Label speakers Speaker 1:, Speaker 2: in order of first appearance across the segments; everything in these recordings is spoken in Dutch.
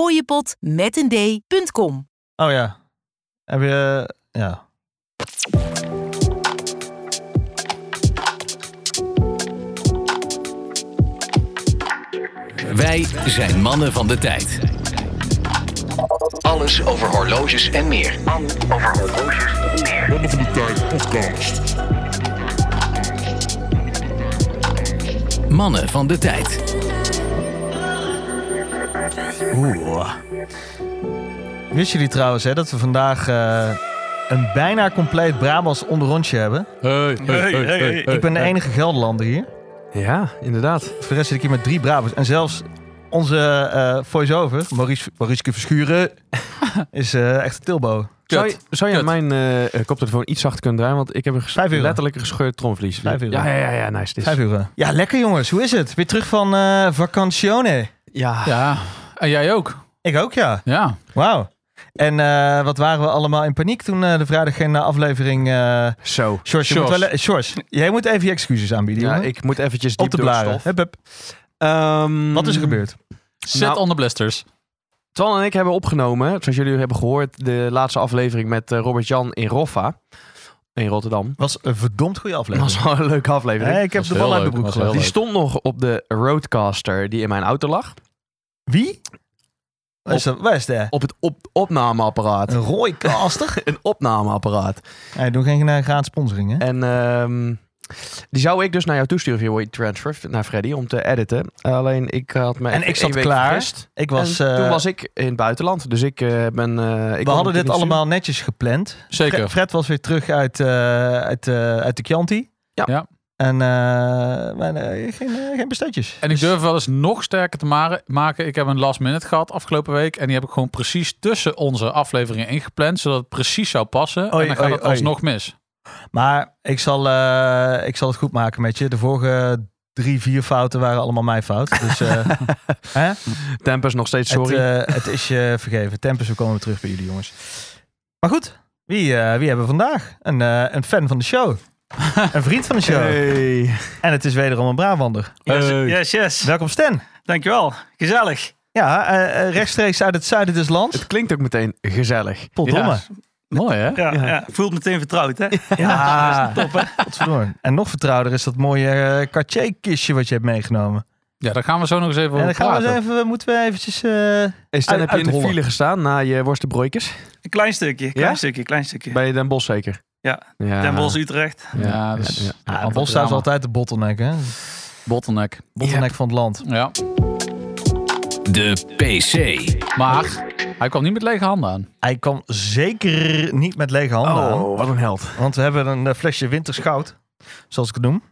Speaker 1: fooiepot met een d.com.
Speaker 2: Oh ja. Heb je... Ja.
Speaker 3: Wij zijn mannen van de tijd. Alles over horloges en meer.
Speaker 4: Mannen van de Tijd podcast.
Speaker 3: Mannen van de tijd.
Speaker 2: Oeh. Wist jullie trouwens hè, dat we vandaag eh, een bijna compleet Brabants onderrondje hebben?
Speaker 5: Hey, hey, hey, hey.
Speaker 2: Ik ben de enige Gelderlander hier.
Speaker 5: Ja, inderdaad.
Speaker 2: Voor de rest zit ik hier met drie Brabants. En zelfs onze eh voice-over, Maurice, Maurice Verschuren, is eh, echt een Tilbo.
Speaker 5: Zou je, zou je
Speaker 6: Kut.
Speaker 5: mijn eh, koptelefoon iets zachter kunnen draaien? Want ik heb een ges-
Speaker 2: Vijf euro.
Speaker 5: letterlijk een gescheurd tromvlies.
Speaker 2: Vijf euro.
Speaker 5: Ja, ja, ja, ja, nice. Dit is-
Speaker 2: Vijf uur. eh. Ja, lekker jongens. Hoe is het? Weer terug van eh vakantione.
Speaker 5: Ja.
Speaker 6: Ja, en jij ook.
Speaker 2: Ik ook, ja.
Speaker 6: Ja,
Speaker 2: Wauw. En eh, wat waren we allemaal in paniek toen eh, de vrijdag geen eh, aflevering... eh
Speaker 5: Zo.
Speaker 2: Sjors, je moet
Speaker 6: Sjors.
Speaker 2: wel, eh, Sjors, jij moet even je excuses aanbieden.
Speaker 5: Ja,
Speaker 2: jongen.
Speaker 5: ik moet eventjes diep
Speaker 2: Op de
Speaker 5: door het
Speaker 2: blaren.
Speaker 5: stof.
Speaker 2: Hup, hup.
Speaker 5: Ehm,
Speaker 2: Wat is er gebeurd?
Speaker 6: sit
Speaker 5: Nou-
Speaker 6: on the blisters.
Speaker 5: Twan en ik hebben opgenomen, zoals jullie hebben gehoord, de laatste aflevering met eh, Robert-Jan in Roffa. In Rotterdam.
Speaker 2: was een verdomd goede
Speaker 5: Dat
Speaker 2: aflevering.
Speaker 5: was wel een leuke aflevering.
Speaker 2: Hè, ik heb
Speaker 6: was
Speaker 2: de
Speaker 6: heel
Speaker 2: bal uit de
Speaker 6: leuk,
Speaker 2: broek
Speaker 6: was heel
Speaker 2: gehad.
Speaker 5: Die
Speaker 6: leuk.
Speaker 5: stond nog op de Roadcaster die in mijn auto lag.
Speaker 2: Wie? Waar is dat? Waar is de?
Speaker 5: Op het op opnameapparaat.
Speaker 2: Een rooikaster.
Speaker 5: Een opnameapparaat.
Speaker 2: Hij doet geen eh, gratis sponsoring, hè?
Speaker 5: En ehm, die zou ik dus naar jou toesturen via Word Transfer, naar Freddy, om te editen. Alleen ik had me
Speaker 2: En
Speaker 5: even
Speaker 2: ik zat
Speaker 5: één week
Speaker 2: klaar.
Speaker 5: vergist.
Speaker 2: Ik was,
Speaker 5: En
Speaker 2: eh,
Speaker 5: toen was ik in het buitenland, dus ik eh, ben... eh, ik kon
Speaker 2: we hadden
Speaker 5: natuurlijk
Speaker 2: dit
Speaker 5: niet
Speaker 2: allemaal netjes gepland. Fre-
Speaker 6: Zeker.
Speaker 2: Fred was weer terug uit, eh, uit, eh, uit de Chianti.
Speaker 5: Ja.
Speaker 6: Ja.
Speaker 2: En eh, maar, eh, geen, eh, geen besteedjes.
Speaker 6: En ik durf wel eens nog sterker te mare- maken. Ik heb een last minute gehad afgelopen week. En die heb ik gewoon precies tussen onze afleveringen ingepland. Zodat het precies zou passen.
Speaker 2: Oei,
Speaker 6: en dan gaat
Speaker 2: oei,
Speaker 6: het
Speaker 2: oei.
Speaker 6: alsnog mis.
Speaker 2: Maar ik zal, eh, ik zal het goed maken met je. De vorige drie, vier fouten waren allemaal mijn fout. Dus eh, hè?
Speaker 5: sturen. Tempus nog steeds, sorry.
Speaker 2: Het, eh, het is je vergeven. Tempus, we komen weer terug bij jullie, jongens. Maar goed, wie, eh, wie hebben we vandaag? Een, eh, een fan van de show. Een vriend van de show.
Speaker 5: Hey.
Speaker 2: En het is wederom een Brabander.
Speaker 7: Yes,
Speaker 5: Hey.
Speaker 7: yes, yes.
Speaker 2: Welkom Stan.
Speaker 7: Dankjewel. Gezellig.
Speaker 2: Ja, eh, eh, rechtstreeks uit het zuiden des lands.
Speaker 5: Het klinkt ook meteen gezellig.
Speaker 2: Potdomme.
Speaker 6: Mooi hè?
Speaker 7: Ja, ja. voelt meteen vertrouwd, hè?
Speaker 2: Ja, top hè. Godverdomme. En nog vertrouwder is dat mooie eh Cartier-kistje wat je hebt meegenomen.
Speaker 6: Ja, daar gaan we zo nog eens even
Speaker 2: en
Speaker 6: over
Speaker 2: dan gaan we
Speaker 6: praten.
Speaker 2: eens even, moeten we eventjes... eh,
Speaker 5: Hey, Stan,
Speaker 2: Uit-
Speaker 5: heb je in de
Speaker 2: uitrollen.
Speaker 5: file gestaan na je worstenbroeikers?
Speaker 7: Een klein stukje, klein
Speaker 5: Ja?
Speaker 7: stukje, klein stukje.
Speaker 5: Bij Ah. Den Bosch zeker?
Speaker 7: Ja.
Speaker 5: ja.
Speaker 7: Den Bosch, Utrecht.
Speaker 5: Ja,
Speaker 6: Ja, dus
Speaker 5: ja, ja.
Speaker 6: ja,
Speaker 2: ah,
Speaker 6: wat
Speaker 2: Bos staat
Speaker 6: drama.
Speaker 2: altijd de bottleneck hè.
Speaker 6: bottleneck.
Speaker 2: Bottleneck van het land.
Speaker 6: Ja,
Speaker 3: De PC.
Speaker 6: maar hij kwam niet met lege handen aan.
Speaker 2: Hij kwam zeker niet met lege handen aan.
Speaker 5: Oh, wat een held.
Speaker 2: Want we hebben een eh, flesje winterschout, zoals ik het noem.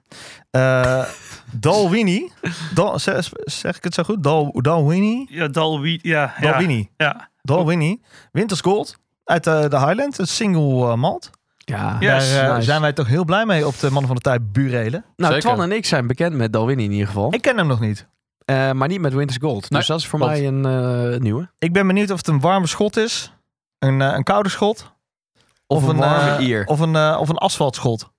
Speaker 2: Eh Dalwini. Dal, zeg, zeg ik het zo goed? Dal, Dalwini.
Speaker 7: Ja, Dalwi. Ja, ja.
Speaker 2: Dalwini.
Speaker 7: Ja.
Speaker 2: Dalwini. Winters Gold uit eh, de Highland. Een single eh, malt.
Speaker 5: Ja.
Speaker 7: Ja.
Speaker 2: Daar
Speaker 7: Yes,
Speaker 2: eh,
Speaker 5: nice.
Speaker 2: zijn wij toch heel blij mee op de Mannen van de Tijd burelen.
Speaker 5: Nou,
Speaker 6: Zeker.
Speaker 5: Twan en ik zijn bekend met Dalwin in ieder geval.
Speaker 2: Ik ken hem nog niet.
Speaker 5: Eh, maar niet met Winters Gold.
Speaker 6: Nee,
Speaker 5: dus dat is voor
Speaker 6: klopt.
Speaker 5: mij een eh, nieuwe.
Speaker 2: Ik ben benieuwd of het een warme schot is. Een, eh, een koude schot.
Speaker 5: Of een warme
Speaker 2: eh,
Speaker 5: ier.
Speaker 2: Of een, eh, of een asfaltschot.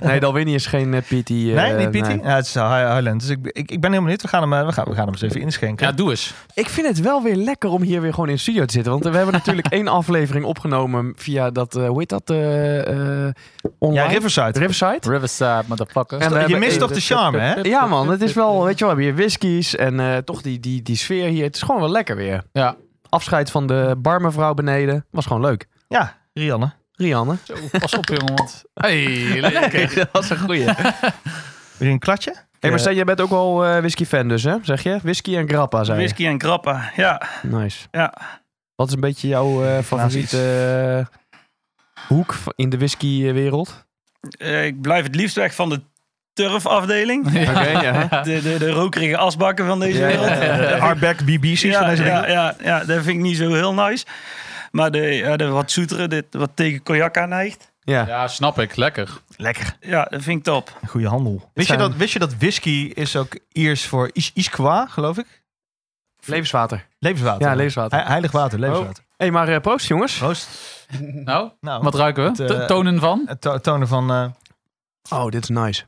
Speaker 5: Nee, Dalwini is geen eh, PT.
Speaker 2: nee, niet Pietie? Ja, het is eh, High- Highland. Dus ik, ik, ik ben heel benieuwd. We gaan hem, eh, we gaan, we gaan hem eens even inschenken.
Speaker 6: Ja, doe eens.
Speaker 5: Ik vind het wel weer lekker om hier weer gewoon in de studio te zitten. Want we hebben natuurlijk één aflevering opgenomen via dat, eh, hoe heet dat? eh, eh,
Speaker 2: ja
Speaker 5: online?
Speaker 2: Riverside.
Speaker 5: Riverside.
Speaker 6: Riverside, motherfucker.
Speaker 5: En we
Speaker 2: je
Speaker 5: hebben
Speaker 2: mist
Speaker 5: één-
Speaker 2: toch de charme, hè?
Speaker 5: Ja man, het is wel, weet je wel, we hebben hier whiskies en eh, toch die, die, die sfeer hier. Het is gewoon wel lekker weer.
Speaker 6: Ja.
Speaker 5: Afscheid van de barmevrouw beneden. Was gewoon leuk.
Speaker 2: Ja, Rianne.
Speaker 5: Rianne.
Speaker 6: Zo, pas op jongen, want... Hey, lekker.
Speaker 5: dat was een goeie. Hé,
Speaker 2: Wil je een klatje?
Speaker 5: maar Stan, jij bent ook wel eh, whisky-fan dus, hè? Zeg je? Whisky en grappa, zei je.
Speaker 7: Whisky en grappa. Ja,
Speaker 5: Nice.
Speaker 7: ja.
Speaker 5: Wat is een beetje jouw eh, favoriete eh, hoek v- in de whiskywereld?
Speaker 7: Eh, ik blijf het liefst weg van de turfafdeling.
Speaker 5: Oké, ja.
Speaker 7: De, de, de rokerige asbakken van deze
Speaker 5: Ja,
Speaker 7: wereld.
Speaker 5: ja, ja,
Speaker 2: De Artback BBC's van
Speaker 7: Eh, Ja,
Speaker 2: deze
Speaker 7: ja,
Speaker 2: winkel.
Speaker 7: ja, ja, dat vind ik niet zo heel nice. Maar de, ja, de wat zoetere, dit, wat tegen cognac aan neigt.
Speaker 5: ja.
Speaker 6: Ja, snap ik. Lekker.
Speaker 2: Lekker.
Speaker 7: Ja, dat vind ik top.
Speaker 2: Goede handel. Wist,
Speaker 5: zijn-
Speaker 2: je dat, wist je dat whisky is ook Iers voor is, Isqua, geloof ik?
Speaker 5: Levenswater.
Speaker 2: Levenswater.
Speaker 5: Ja, levenswater.
Speaker 2: He- heilig water, levenswater.
Speaker 5: Hé, maar eh, proost jongens.
Speaker 2: Proost.
Speaker 6: Nou,
Speaker 2: Nou,
Speaker 6: wat ruiken we?
Speaker 2: Het, eh,
Speaker 6: T- Tonen van?
Speaker 2: het to- tonen van... eh,
Speaker 5: Oh, dit is nice.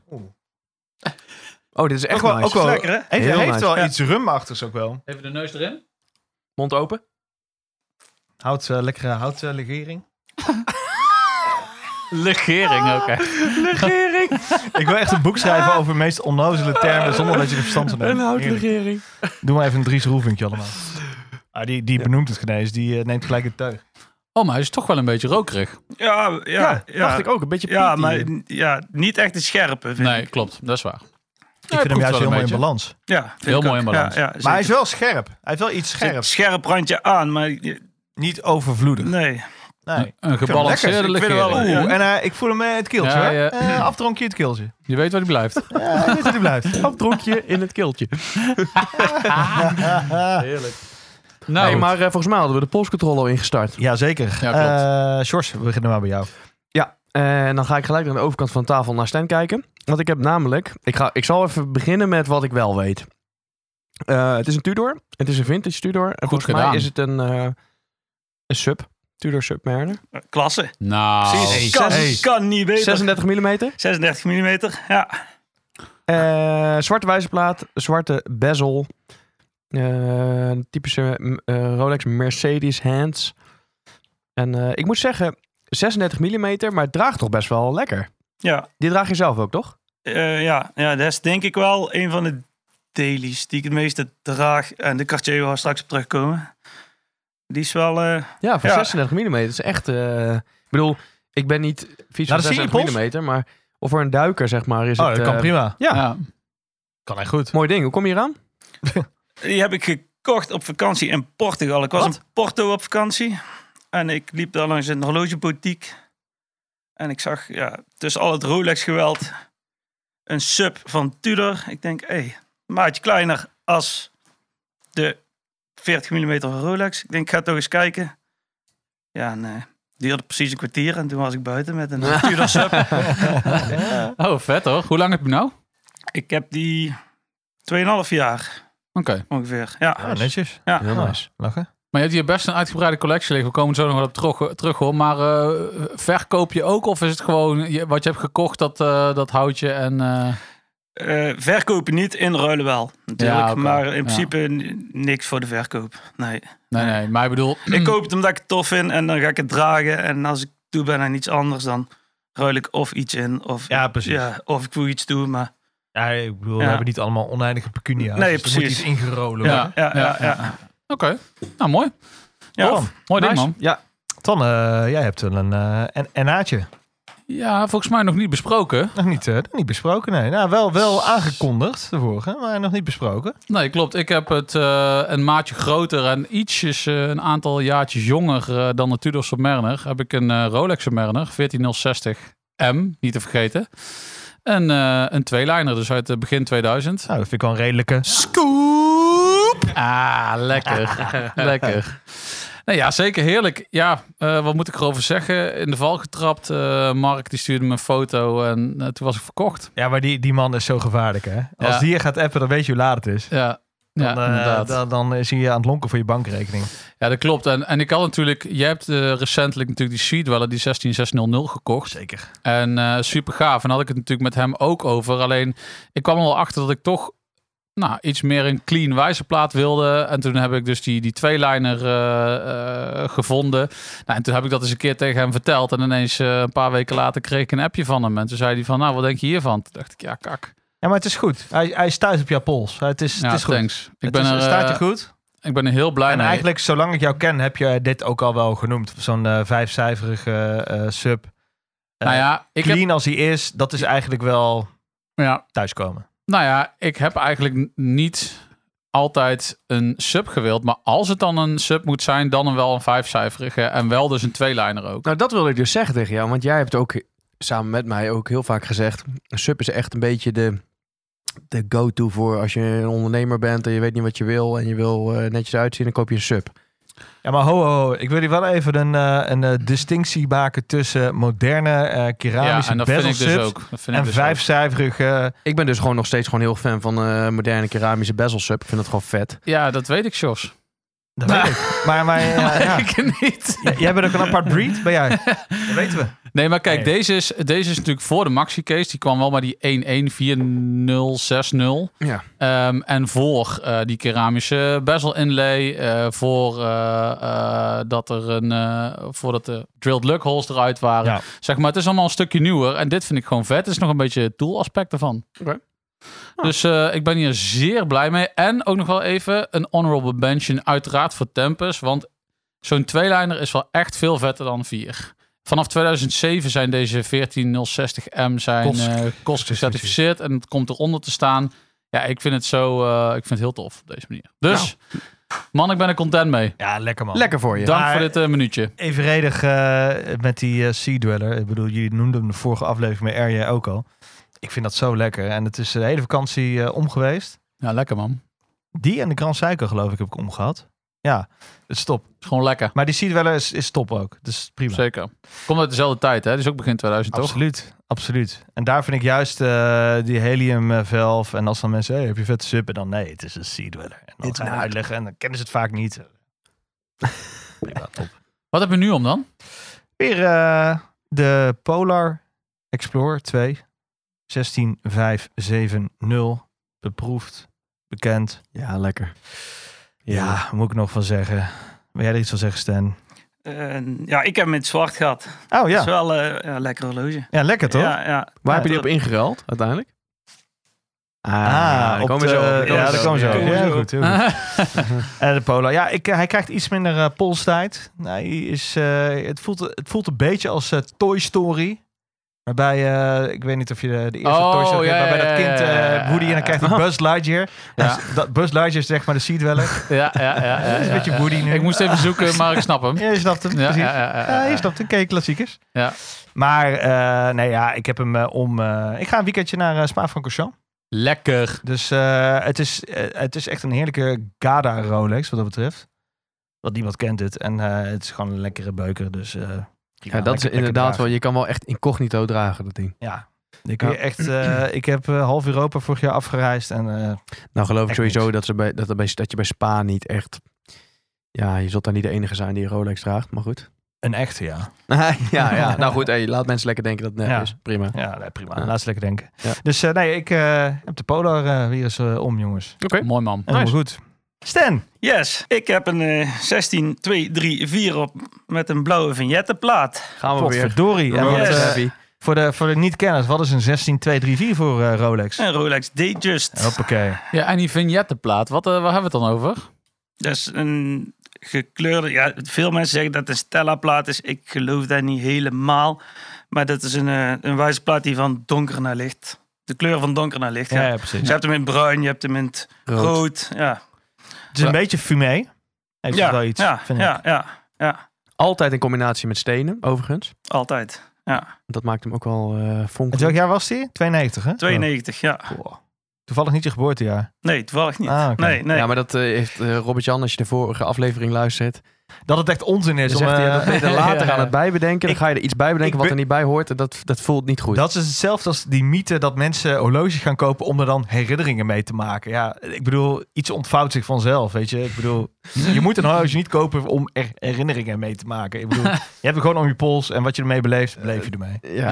Speaker 5: Oh, dit is echt
Speaker 2: ook wel,
Speaker 5: nice.
Speaker 2: ook wel,
Speaker 7: Lekker, hè?
Speaker 2: Heeft,
Speaker 5: Heel
Speaker 2: heeft
Speaker 5: nice.
Speaker 2: wel
Speaker 7: Ja.
Speaker 2: iets rumachtigs ook wel.
Speaker 6: Even de neus erin.
Speaker 5: Mond open.
Speaker 2: Hout, eh, lekkere houtlegering.
Speaker 6: Legering
Speaker 2: Ah.
Speaker 6: ook, hè.
Speaker 5: Legering.
Speaker 2: ik wil echt een boek schrijven over de meest onnozele termen zonder dat je er verstand van hebt.
Speaker 5: Een
Speaker 2: Heerlijk.
Speaker 5: houtlegering.
Speaker 2: Doe maar even een Dries Roelvinkje allemaal. Ah, die, die benoemt het genees, die eh, neemt gelijk het teug.
Speaker 6: Oh, maar hij is toch wel een beetje rokerig.
Speaker 7: Ja, ja, ja,
Speaker 5: Dacht ik ook, een beetje
Speaker 7: Ja,
Speaker 5: peaty.
Speaker 7: maar n- ja, niet echt een scherpe. Vind
Speaker 6: Nee,
Speaker 7: ik.
Speaker 6: klopt. Dat is waar.
Speaker 2: Ik vind hem juist heel mooi in
Speaker 6: belang.
Speaker 2: balans.
Speaker 7: Ja, vind
Speaker 6: Heel
Speaker 7: ik
Speaker 6: mooi
Speaker 7: ook.
Speaker 6: in balans.
Speaker 7: Ja, ja,
Speaker 2: Maar Dus hij is
Speaker 7: zeker.
Speaker 2: wel scherp. Hij heeft wel iets
Speaker 7: Zit
Speaker 2: scherps.
Speaker 7: scherp randje aan, maar je-
Speaker 2: Niet overvloedig.
Speaker 7: nee.
Speaker 2: Nee.
Speaker 6: Een
Speaker 2: Ik vind hem lekker.
Speaker 6: gebalanceerde
Speaker 2: Ik vind hem wel-
Speaker 6: legering.
Speaker 2: Oeh, en eh, ik voel hem eh, het keeltje.
Speaker 6: Ja,
Speaker 2: hoor.
Speaker 6: ja.
Speaker 2: Eh, afdronk je het keeltje.
Speaker 6: Je weet waar die blijft.
Speaker 2: Ja, ik weet dat hij blijft.
Speaker 5: Afdronkje in het keeltje.
Speaker 6: Heerlijk.
Speaker 5: Nee,
Speaker 6: Nou,
Speaker 5: maar eh, volgens mij hadden we de polscontrole al ingestart.
Speaker 2: Jazeker.
Speaker 6: Ja,
Speaker 2: Ja,
Speaker 6: klopt.
Speaker 2: George, we beginnen maar bij jou.
Speaker 5: Ja, en dan ga ik gelijk aan de overkant van de tafel naar Stijn kijken. Want ik heb namelijk... Ik, ga, ik zal even beginnen met wat ik wel weet. Eh, het is een Tudor. Het is een vintage Tudor. En
Speaker 6: Goed
Speaker 5: volgens
Speaker 6: gedaan.
Speaker 5: mij is het een, eh, een sub. Tudor Submariner.
Speaker 7: Klasse.
Speaker 6: nou.
Speaker 2: Precies.
Speaker 7: Kan,
Speaker 2: Hey.
Speaker 7: kan niet beter.
Speaker 5: 36 mm.
Speaker 7: 36 mm, ja.
Speaker 5: Eh, zwarte wijzerplaat, zwarte bezel. Eh, typische mm, eh, Rolex Mercedes hands. En eh, ik moet zeggen, 36 mm, maar het draagt toch best wel lekker.
Speaker 7: Ja,
Speaker 5: Die draag je zelf ook, toch?
Speaker 7: eh, ja. ja, dat is denk ik wel een van de dailies die ik het meeste draag. En de Cartier waar we straks op terugkomen. Die is wel... eh,
Speaker 5: Ja, voor
Speaker 7: Ja.
Speaker 5: 36 mm is echt... eh, ik bedoel, ik ben niet
Speaker 2: Nou,
Speaker 5: vies van
Speaker 2: dat zie je
Speaker 5: 36 mm, maar of voor een duiker, zeg maar, is
Speaker 2: Oh,
Speaker 5: het...
Speaker 2: dat kan
Speaker 5: eh,
Speaker 2: prima. Oh,
Speaker 5: Ja,
Speaker 6: Ja.
Speaker 2: Kan hij goed.
Speaker 5: mooi ding. Hoe kom je eraan?
Speaker 7: Die heb ik gekocht op vakantie in Portugal. Ik was
Speaker 2: Wat?
Speaker 7: in Porto op vakantie. En ik liep daar langs een horlogeboutique. En ik zag ja, tussen al het Rolex-geweld een sub van Tudor. Ik denk, hé, hey, maatje kleiner als de 40 mm van Rolex. Ik denk, ik ga toch eens kijken. Ja, en eh, duurde precies een kwartier. En toen was ik buiten met een Tudor sub.
Speaker 6: Oh, vet hoor. Hoe lang heb je nou? Oké.
Speaker 7: Ik heb die 2,5 jaar ongeveer. Ja,
Speaker 2: Ja, Ah, netjes.
Speaker 7: Heel
Speaker 2: Ja,
Speaker 5: nice.
Speaker 2: Lachen.
Speaker 6: Maar je hebt hier best een uitgebreide collectie liggen. We komen zo nog wel op terug, terug hoor. Maar eh, verkoop je ook? Of is het gewoon je- wat je hebt gekocht, dat, eh, dat houtje en... eh,
Speaker 7: Eh, verkopen niet, inruilen wel. Natuurlijk,
Speaker 6: Ja, oké.
Speaker 7: maar
Speaker 6: Ja.
Speaker 7: in principe n- niks voor de verkoop. Nee.
Speaker 6: nee, nee. Maar ik bedoel...
Speaker 2: Hmm.
Speaker 7: Ik koop het omdat ik het tof vind en dan ga ik het dragen. En als ik toe ben aan iets anders, dan ruil ik of iets in. Of,
Speaker 2: Ja, precies.
Speaker 7: ja, of ik voeg iets toe. Maar
Speaker 2: Ja, ik bedoel, we
Speaker 7: Ja.
Speaker 2: hebben niet allemaal oneindige pecunia's.
Speaker 7: Nee,
Speaker 2: dus er moet
Speaker 7: precies.
Speaker 2: iets ingerolen
Speaker 7: ja,
Speaker 2: worden.
Speaker 7: ja, ja. ja,
Speaker 6: Ja, Oké. Nou, mooi.
Speaker 7: Ja,
Speaker 2: Tof.
Speaker 6: Mooi ding,
Speaker 5: Nice.
Speaker 6: man.
Speaker 5: Ja,
Speaker 2: Tan, eh, jij hebt wel een, eh een, een naadje.
Speaker 6: Ja, volgens mij nog niet besproken.
Speaker 2: Nog niet, eh, nog niet besproken, nee. Nou, wel, wel aangekondigd, de vorige, maar nog niet besproken.
Speaker 6: Nee, klopt. Ik heb het eh, een maatje groter en ietsjes eh, een aantal jaartjes jonger eh, dan de Tudor Submariner. Heb ik een eh, Rolex Submariner 14060M, niet te vergeten. En eh, een tweeliner, dus uit eh, begin 2000.
Speaker 2: Nou, dat vind ik wel een redelijke.
Speaker 6: Ah, lekker. lekker. Nou ja, zeker heerlijk. Ja, eh, wat moet ik erover zeggen? In de val getrapt. Eh, Mark die stuurde me een foto en eh, toen was ik verkocht.
Speaker 2: Ja, maar die, die man is zo gevaarlijk, hè. Als
Speaker 6: Ja.
Speaker 2: die je gaat appen, dan weet je hoe laat het is.
Speaker 6: Ja, ja
Speaker 2: Dan, eh,
Speaker 6: inderdaad.
Speaker 2: dan, dan zie je aan het lonken voor je bankrekening.
Speaker 6: Ja, dat klopt. En, en ik had natuurlijk, jij hebt eh, recentelijk natuurlijk die Seedweller, die 16600 gekocht.
Speaker 2: Zeker.
Speaker 6: En eh super gaaf. En had ik het natuurlijk met hem ook over. Alleen ik kwam er wel achter dat ik toch nou, iets meer een clean wijzerplaat wilde. En toen heb ik dus die, die tweeliner eh, eh, gevonden. Nou, en toen heb ik dat eens een keer tegen hem verteld. En ineens eh, een paar weken later kreeg ik een appje van hem. En toen zei hij van, nou, wat denk je hiervan? Toen dacht ik, ja, kak.
Speaker 2: Ja, maar het is goed. Hij, hij is thuis op jouw pols. Het is,
Speaker 6: Ja,
Speaker 2: het is goed.
Speaker 6: thanks. Ik
Speaker 2: Het
Speaker 6: ben,
Speaker 2: is-
Speaker 6: er,
Speaker 2: het staat je
Speaker 6: eh,
Speaker 2: goed.
Speaker 6: ik ben er heel blij
Speaker 2: En
Speaker 6: mee.
Speaker 2: eigenlijk, zolang ik jou ken, heb je dit ook al wel genoemd. Zo'n eh, vijfcijferige eh, sub. Eh,
Speaker 6: nou ja, ik
Speaker 2: Clean
Speaker 6: heb...
Speaker 2: als hij is, dat is eigenlijk wel
Speaker 6: Ja,
Speaker 2: thuiskomen.
Speaker 6: Nou ja, ik heb eigenlijk n- niet altijd een sub gewild. Maar als het dan een sub moet zijn, dan een wel een vijfcijferige. En wel dus een tweeliner ook.
Speaker 5: Nou, dat wilde ik dus zeggen tegen jou. Want jij hebt ook samen met mij ook heel vaak gezegd... een sub is echt een beetje de, de go-to voor als je een ondernemer bent... en je weet niet wat je wil en je wil eh, netjes uitzien... dan koop je een sub.
Speaker 2: Ja, maar ho, ho, ho. Ik wil hier wel even een, eh, een eh, distinctie maken tussen moderne eh,
Speaker 6: Ja,
Speaker 2: keramische
Speaker 6: en dat vind ik dus
Speaker 2: bezelsups
Speaker 6: ook. Dat vind ik
Speaker 2: en
Speaker 6: dus
Speaker 2: vijfcijferige... eh,
Speaker 5: Ik ben dus gewoon nog steeds gewoon heel fan van eh, moderne keramische bezel sub. Ik vind dat gewoon vet.
Speaker 6: ook. Ja, dat weet ik, Jos.
Speaker 2: Dat weet ik. Maar, maar eh, ja.
Speaker 6: Nou. Ik niet.
Speaker 2: J- jij bent ook een apart breed, ben jij? Dat weten we.
Speaker 6: Nee, maar kijk,
Speaker 2: Nee.
Speaker 6: Deze, is, deze is natuurlijk voor de maxi-case. Die kwam wel maar die 114060.
Speaker 5: Ja.
Speaker 6: Ehm, en voor eh, die keramische bezel inlay. eh, voor, eh, eh, dat er een, eh, voordat de drilled lug holes eruit waren.
Speaker 2: Ja.
Speaker 6: Zeg maar, het is allemaal een stukje nieuwer. En dit vind ik gewoon vet. Het is nog een beetje het tool-aspect ervan.
Speaker 5: Oké.
Speaker 2: Ah.
Speaker 6: Dus eh, ik ben hier zeer blij mee. En ook nog wel even een honorable mention uiteraard voor Tempus. Want zo'n tweeliner is wel echt veel vetter dan vier. Vanaf 2007 zijn deze 14060M zijn
Speaker 2: Kost-
Speaker 6: eh, kost gecertificeerd. En het komt eronder te staan. Ja, ik vind het zo... eh, ik vind het heel tof op deze manier. Dus,
Speaker 2: Nou.
Speaker 6: man, ik ben er content mee.
Speaker 2: Ja, lekker man.
Speaker 5: Lekker voor je.
Speaker 6: Dank
Speaker 2: Maar-
Speaker 6: voor dit eh, minuutje.
Speaker 2: Evenredig eh, met die eh, Sea Dweller. Ik bedoel, jullie noemden hem de vorige aflevering met RJ ook al. Ik vind dat zo lekker. En het is de hele vakantie eh, om geweest.
Speaker 6: Ja, lekker man.
Speaker 2: Die en de Grand Cycle geloof ik heb ik omgehad. Ja, het is top.
Speaker 6: Is gewoon lekker.
Speaker 2: Maar die Sea Dweller is, is top ook. Dus prima.
Speaker 6: Zeker. Komt uit dezelfde tijd, hè? Dus ook begin 2000, toch?
Speaker 2: Absoluut, absoluut. En daar vind ik juist eh, die helium eh, valve. En als dan mensen, hey, heb je vette suppen? Dan nee, het is een sea dweller. En dan
Speaker 5: It's
Speaker 2: ga je
Speaker 5: not.
Speaker 2: uitleggen en dan kennen ze het vaak niet. Prima, top.
Speaker 6: Wat heb je nu om dan?
Speaker 2: Weer eh, de Polar Explorer 2. 16570. Beproefd, bekend.
Speaker 5: Ja, lekker.
Speaker 2: Ja, moet ik nog van zeggen. Wil jij er iets van zeggen, Stan?
Speaker 7: Eh, ja, ik heb hem in het zwart gehad.
Speaker 2: Oh
Speaker 7: Dat is
Speaker 2: ja,
Speaker 7: wel eh, ja, een lekker horloge.
Speaker 2: ja lekker toch?
Speaker 7: Ja, ja.
Speaker 5: Waar
Speaker 7: Ja,
Speaker 5: heb je die op
Speaker 7: dat-
Speaker 5: ingeruild uiteindelijk? Ah,
Speaker 2: Ah,
Speaker 5: daar
Speaker 2: op
Speaker 5: komen we
Speaker 2: de-
Speaker 5: zo op, daar komen
Speaker 2: Ja,
Speaker 5: we
Speaker 2: daar komen ze
Speaker 5: op.
Speaker 2: zo.
Speaker 7: Komen we
Speaker 2: Ja,
Speaker 7: zo.
Speaker 2: goed, heel goed. Eh, de Polar. Ja, ik, eh, hij krijgt iets minder eh, polstijd. Hij is, eh, het, voelt, het voelt een beetje als eh, Toy Story. Waarbij, eh, ik weet niet of je de, de eerste
Speaker 6: Oh,
Speaker 2: Toy Story
Speaker 6: ja,
Speaker 2: hebt, waarbij
Speaker 6: ja,
Speaker 2: dat
Speaker 6: ja,
Speaker 2: kind
Speaker 6: ja, ja, Oh.
Speaker 2: eh, Woody en dan krijgt hij Buzz Lightyear.
Speaker 6: Ja.
Speaker 2: Dus dat, Buzz Lightyear is zeg maar de seatweller.
Speaker 6: ja, ja, ja. ja,
Speaker 2: Dat is een
Speaker 6: ja,
Speaker 2: beetje
Speaker 6: ja.
Speaker 2: Woody nu.
Speaker 6: Ik moest even zoeken, maar ik snap hem.
Speaker 2: Ja, je snapt hem,
Speaker 6: Ja,
Speaker 2: precies.
Speaker 6: ja, ja, ja,
Speaker 2: Ja,
Speaker 6: ja.
Speaker 2: je snapt hem. Kijk, klassiekers.
Speaker 6: Ja.
Speaker 2: Maar, eh, nee ja, ik heb hem eh, om... eh, ik ga een weekendje naar eh, Spa-Francorchamps.
Speaker 6: Lekker.
Speaker 2: Dus eh, het, is, eh, het is echt een heerlijke Gada Rolex wat dat betreft. Want niemand kent het. En eh, het is gewoon een lekkere beuker. Dus, eh,
Speaker 5: Ja,
Speaker 2: prima.
Speaker 5: dat is
Speaker 2: Lekker- lekker
Speaker 5: inderdaad wel.
Speaker 2: dragen.
Speaker 5: Je kan wel echt incognito dragen, dat ding.
Speaker 2: Ja. Dan kun je echt, eh, ik heb eh, half Europa vorig jaar afgereisd. En, eh,
Speaker 5: Nou geloof ik
Speaker 2: Echt
Speaker 5: sowieso
Speaker 2: niks.
Speaker 5: dat, ze bij, dat, er bij, dat je bij Spa niet echt... Ja, je zult daar niet de enige zijn die een Rolex draagt, maar goed.
Speaker 2: een echte, ja.
Speaker 5: ja, ja, nou goed, hey, laat mensen lekker denken dat het nep
Speaker 2: Ja.
Speaker 5: is. Prima. Oké.
Speaker 2: Ja, nee, prima.
Speaker 5: Ja.
Speaker 2: Laat ze lekker denken.
Speaker 5: Ja.
Speaker 2: Dus eh, nee, ik eh, heb de Polar eh, weer eens eh, om, jongens.
Speaker 6: Mooi man.
Speaker 2: En helemaal goed. Stan,
Speaker 7: Yes, ik heb een eh 16234 op met een blauwe vignettenplaat.
Speaker 5: Gaan we weer.
Speaker 2: potverdorie. En wat,
Speaker 7: Rolex
Speaker 2: eh,
Speaker 5: Happy.
Speaker 2: voor de, voor de niet-kenners, wat is een 16234 voor eh, Rolex?
Speaker 7: Een Rolex Datejust.
Speaker 2: Hoppakee.
Speaker 6: Ja, en die vignettenplaat, wat, eh, waar hebben we het dan over?
Speaker 7: Dat is Dus een gekleurde... Ja, veel mensen zeggen dat het een Stella-plaat is. Ik geloof dat niet helemaal. Maar dat is een, eh, een wijze plaat die van donker naar licht... De kleur van donker naar licht.
Speaker 2: Ja,
Speaker 7: gaat.
Speaker 2: precies.
Speaker 7: Dus je hebt hem in bruin, je hebt hem in het
Speaker 5: Rood.
Speaker 7: rood. Ja,
Speaker 2: Het is een beetje fumé. Heeft
Speaker 7: ja,
Speaker 2: wel iets,
Speaker 7: ja,
Speaker 2: vind ik.
Speaker 7: ja, ja, ja,
Speaker 5: Altijd in combinatie met stenen, overigens.
Speaker 7: altijd. Ja,
Speaker 5: Dat maakt hem ook wel eh
Speaker 2: En welk
Speaker 5: fonkelijk.
Speaker 2: jaar was die? 92, hè?
Speaker 7: 92, ja.
Speaker 2: Wow. Toevallig niet je geboortejaar.
Speaker 7: Nee, toevallig niet.
Speaker 2: Ah, oké.
Speaker 7: Nee, nee.
Speaker 5: Ja, maar dat eh, heeft eh, Robert-Jan, als je de vorige aflevering luistert...
Speaker 2: Dat het echt onzin is.
Speaker 5: Dan
Speaker 2: Om,
Speaker 5: zegt hij,
Speaker 2: eh,
Speaker 5: dat ben je er later
Speaker 6: ja.
Speaker 5: aan het bijbedenken. Dan
Speaker 2: Ik-
Speaker 5: ga je er iets bij bedenken
Speaker 2: ik
Speaker 5: wat
Speaker 2: ben-
Speaker 5: er niet bij hoort. En dat, dat voelt niet goed.
Speaker 2: dat is hetzelfde als die mythe dat mensen horloges gaan kopen om er dan herinneringen mee te maken. Ja, ik bedoel, iets ontvouwt zich vanzelf, weet je. Ik bedoel, je moet een horloge niet kopen om er herinneringen mee te maken. Ik bedoel, je hebt het gewoon om je pols en wat je ermee beleeft, beleef je ermee.
Speaker 5: ja,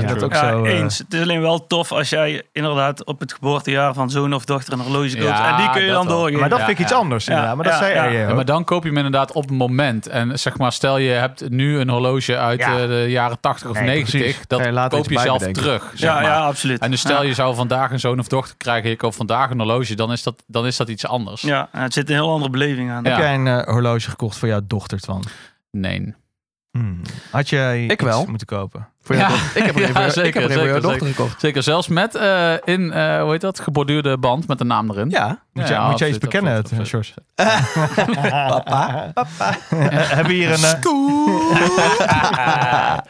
Speaker 5: ja,
Speaker 2: dat
Speaker 6: true.
Speaker 2: ook
Speaker 7: Ja,
Speaker 2: zo, eh,
Speaker 7: eens. Het is alleen wel tof als jij inderdaad op het geboortejaar van zoon of dochter een horloge koopt.
Speaker 6: Ja,
Speaker 7: en die kun je
Speaker 6: dat
Speaker 7: dan
Speaker 6: wel.
Speaker 7: doorgeven.
Speaker 2: Maar dat
Speaker 6: Ja,
Speaker 2: vind ik iets
Speaker 6: ja.
Speaker 2: anders, inderdaad. Maar dat
Speaker 7: Ja,
Speaker 2: zei eh,
Speaker 7: ja.
Speaker 2: RJ
Speaker 6: Ja, maar
Speaker 2: ook.
Speaker 6: dan koop je hem inderdaad op het moment. En zeg maar, stel je hebt nu een horloge uit
Speaker 2: Ja.
Speaker 6: eh, de jaren 80 of
Speaker 2: Nee,
Speaker 6: 90.
Speaker 2: precies.
Speaker 6: Dat
Speaker 5: Ga je later
Speaker 6: koop je
Speaker 5: iets bij
Speaker 6: zelf
Speaker 5: bedenken.
Speaker 6: terug. Zeg
Speaker 7: ja,
Speaker 6: maar.
Speaker 7: ja, absoluut.
Speaker 6: En dus stel
Speaker 7: ja.
Speaker 6: je zou vandaag een zoon of dochter krijgen, ik koop vandaag een horloge, dan is dat, dan is dat iets anders.
Speaker 7: Ja, en het zit een heel andere beleving aan.
Speaker 6: Ja.
Speaker 2: Heb jij een eh, horloge gekocht voor jouw dochter, Twan?
Speaker 6: Nee.
Speaker 2: Hmm. Had jij
Speaker 5: Ik
Speaker 2: iets
Speaker 5: wel.
Speaker 2: moeten kopen?
Speaker 5: Voor jou
Speaker 6: Ja.
Speaker 5: toch- Ik heb er
Speaker 6: Ja,
Speaker 5: een voor jou- ik
Speaker 6: zeker,
Speaker 5: heb er een voor jouw
Speaker 6: zeker,
Speaker 5: dochter gekocht.
Speaker 6: Zeker, zelfs met eh, in, eh, hoe heet dat, geborduurde band met de naam erin.
Speaker 5: Ja.
Speaker 2: Moet,
Speaker 6: Ja,
Speaker 2: jij, moet jij
Speaker 6: absoluut,
Speaker 2: iets bekennen,
Speaker 6: absoluut,
Speaker 2: het, Sjors?
Speaker 6: absoluut.
Speaker 2: papa, papa. Hebben we hier een... eh,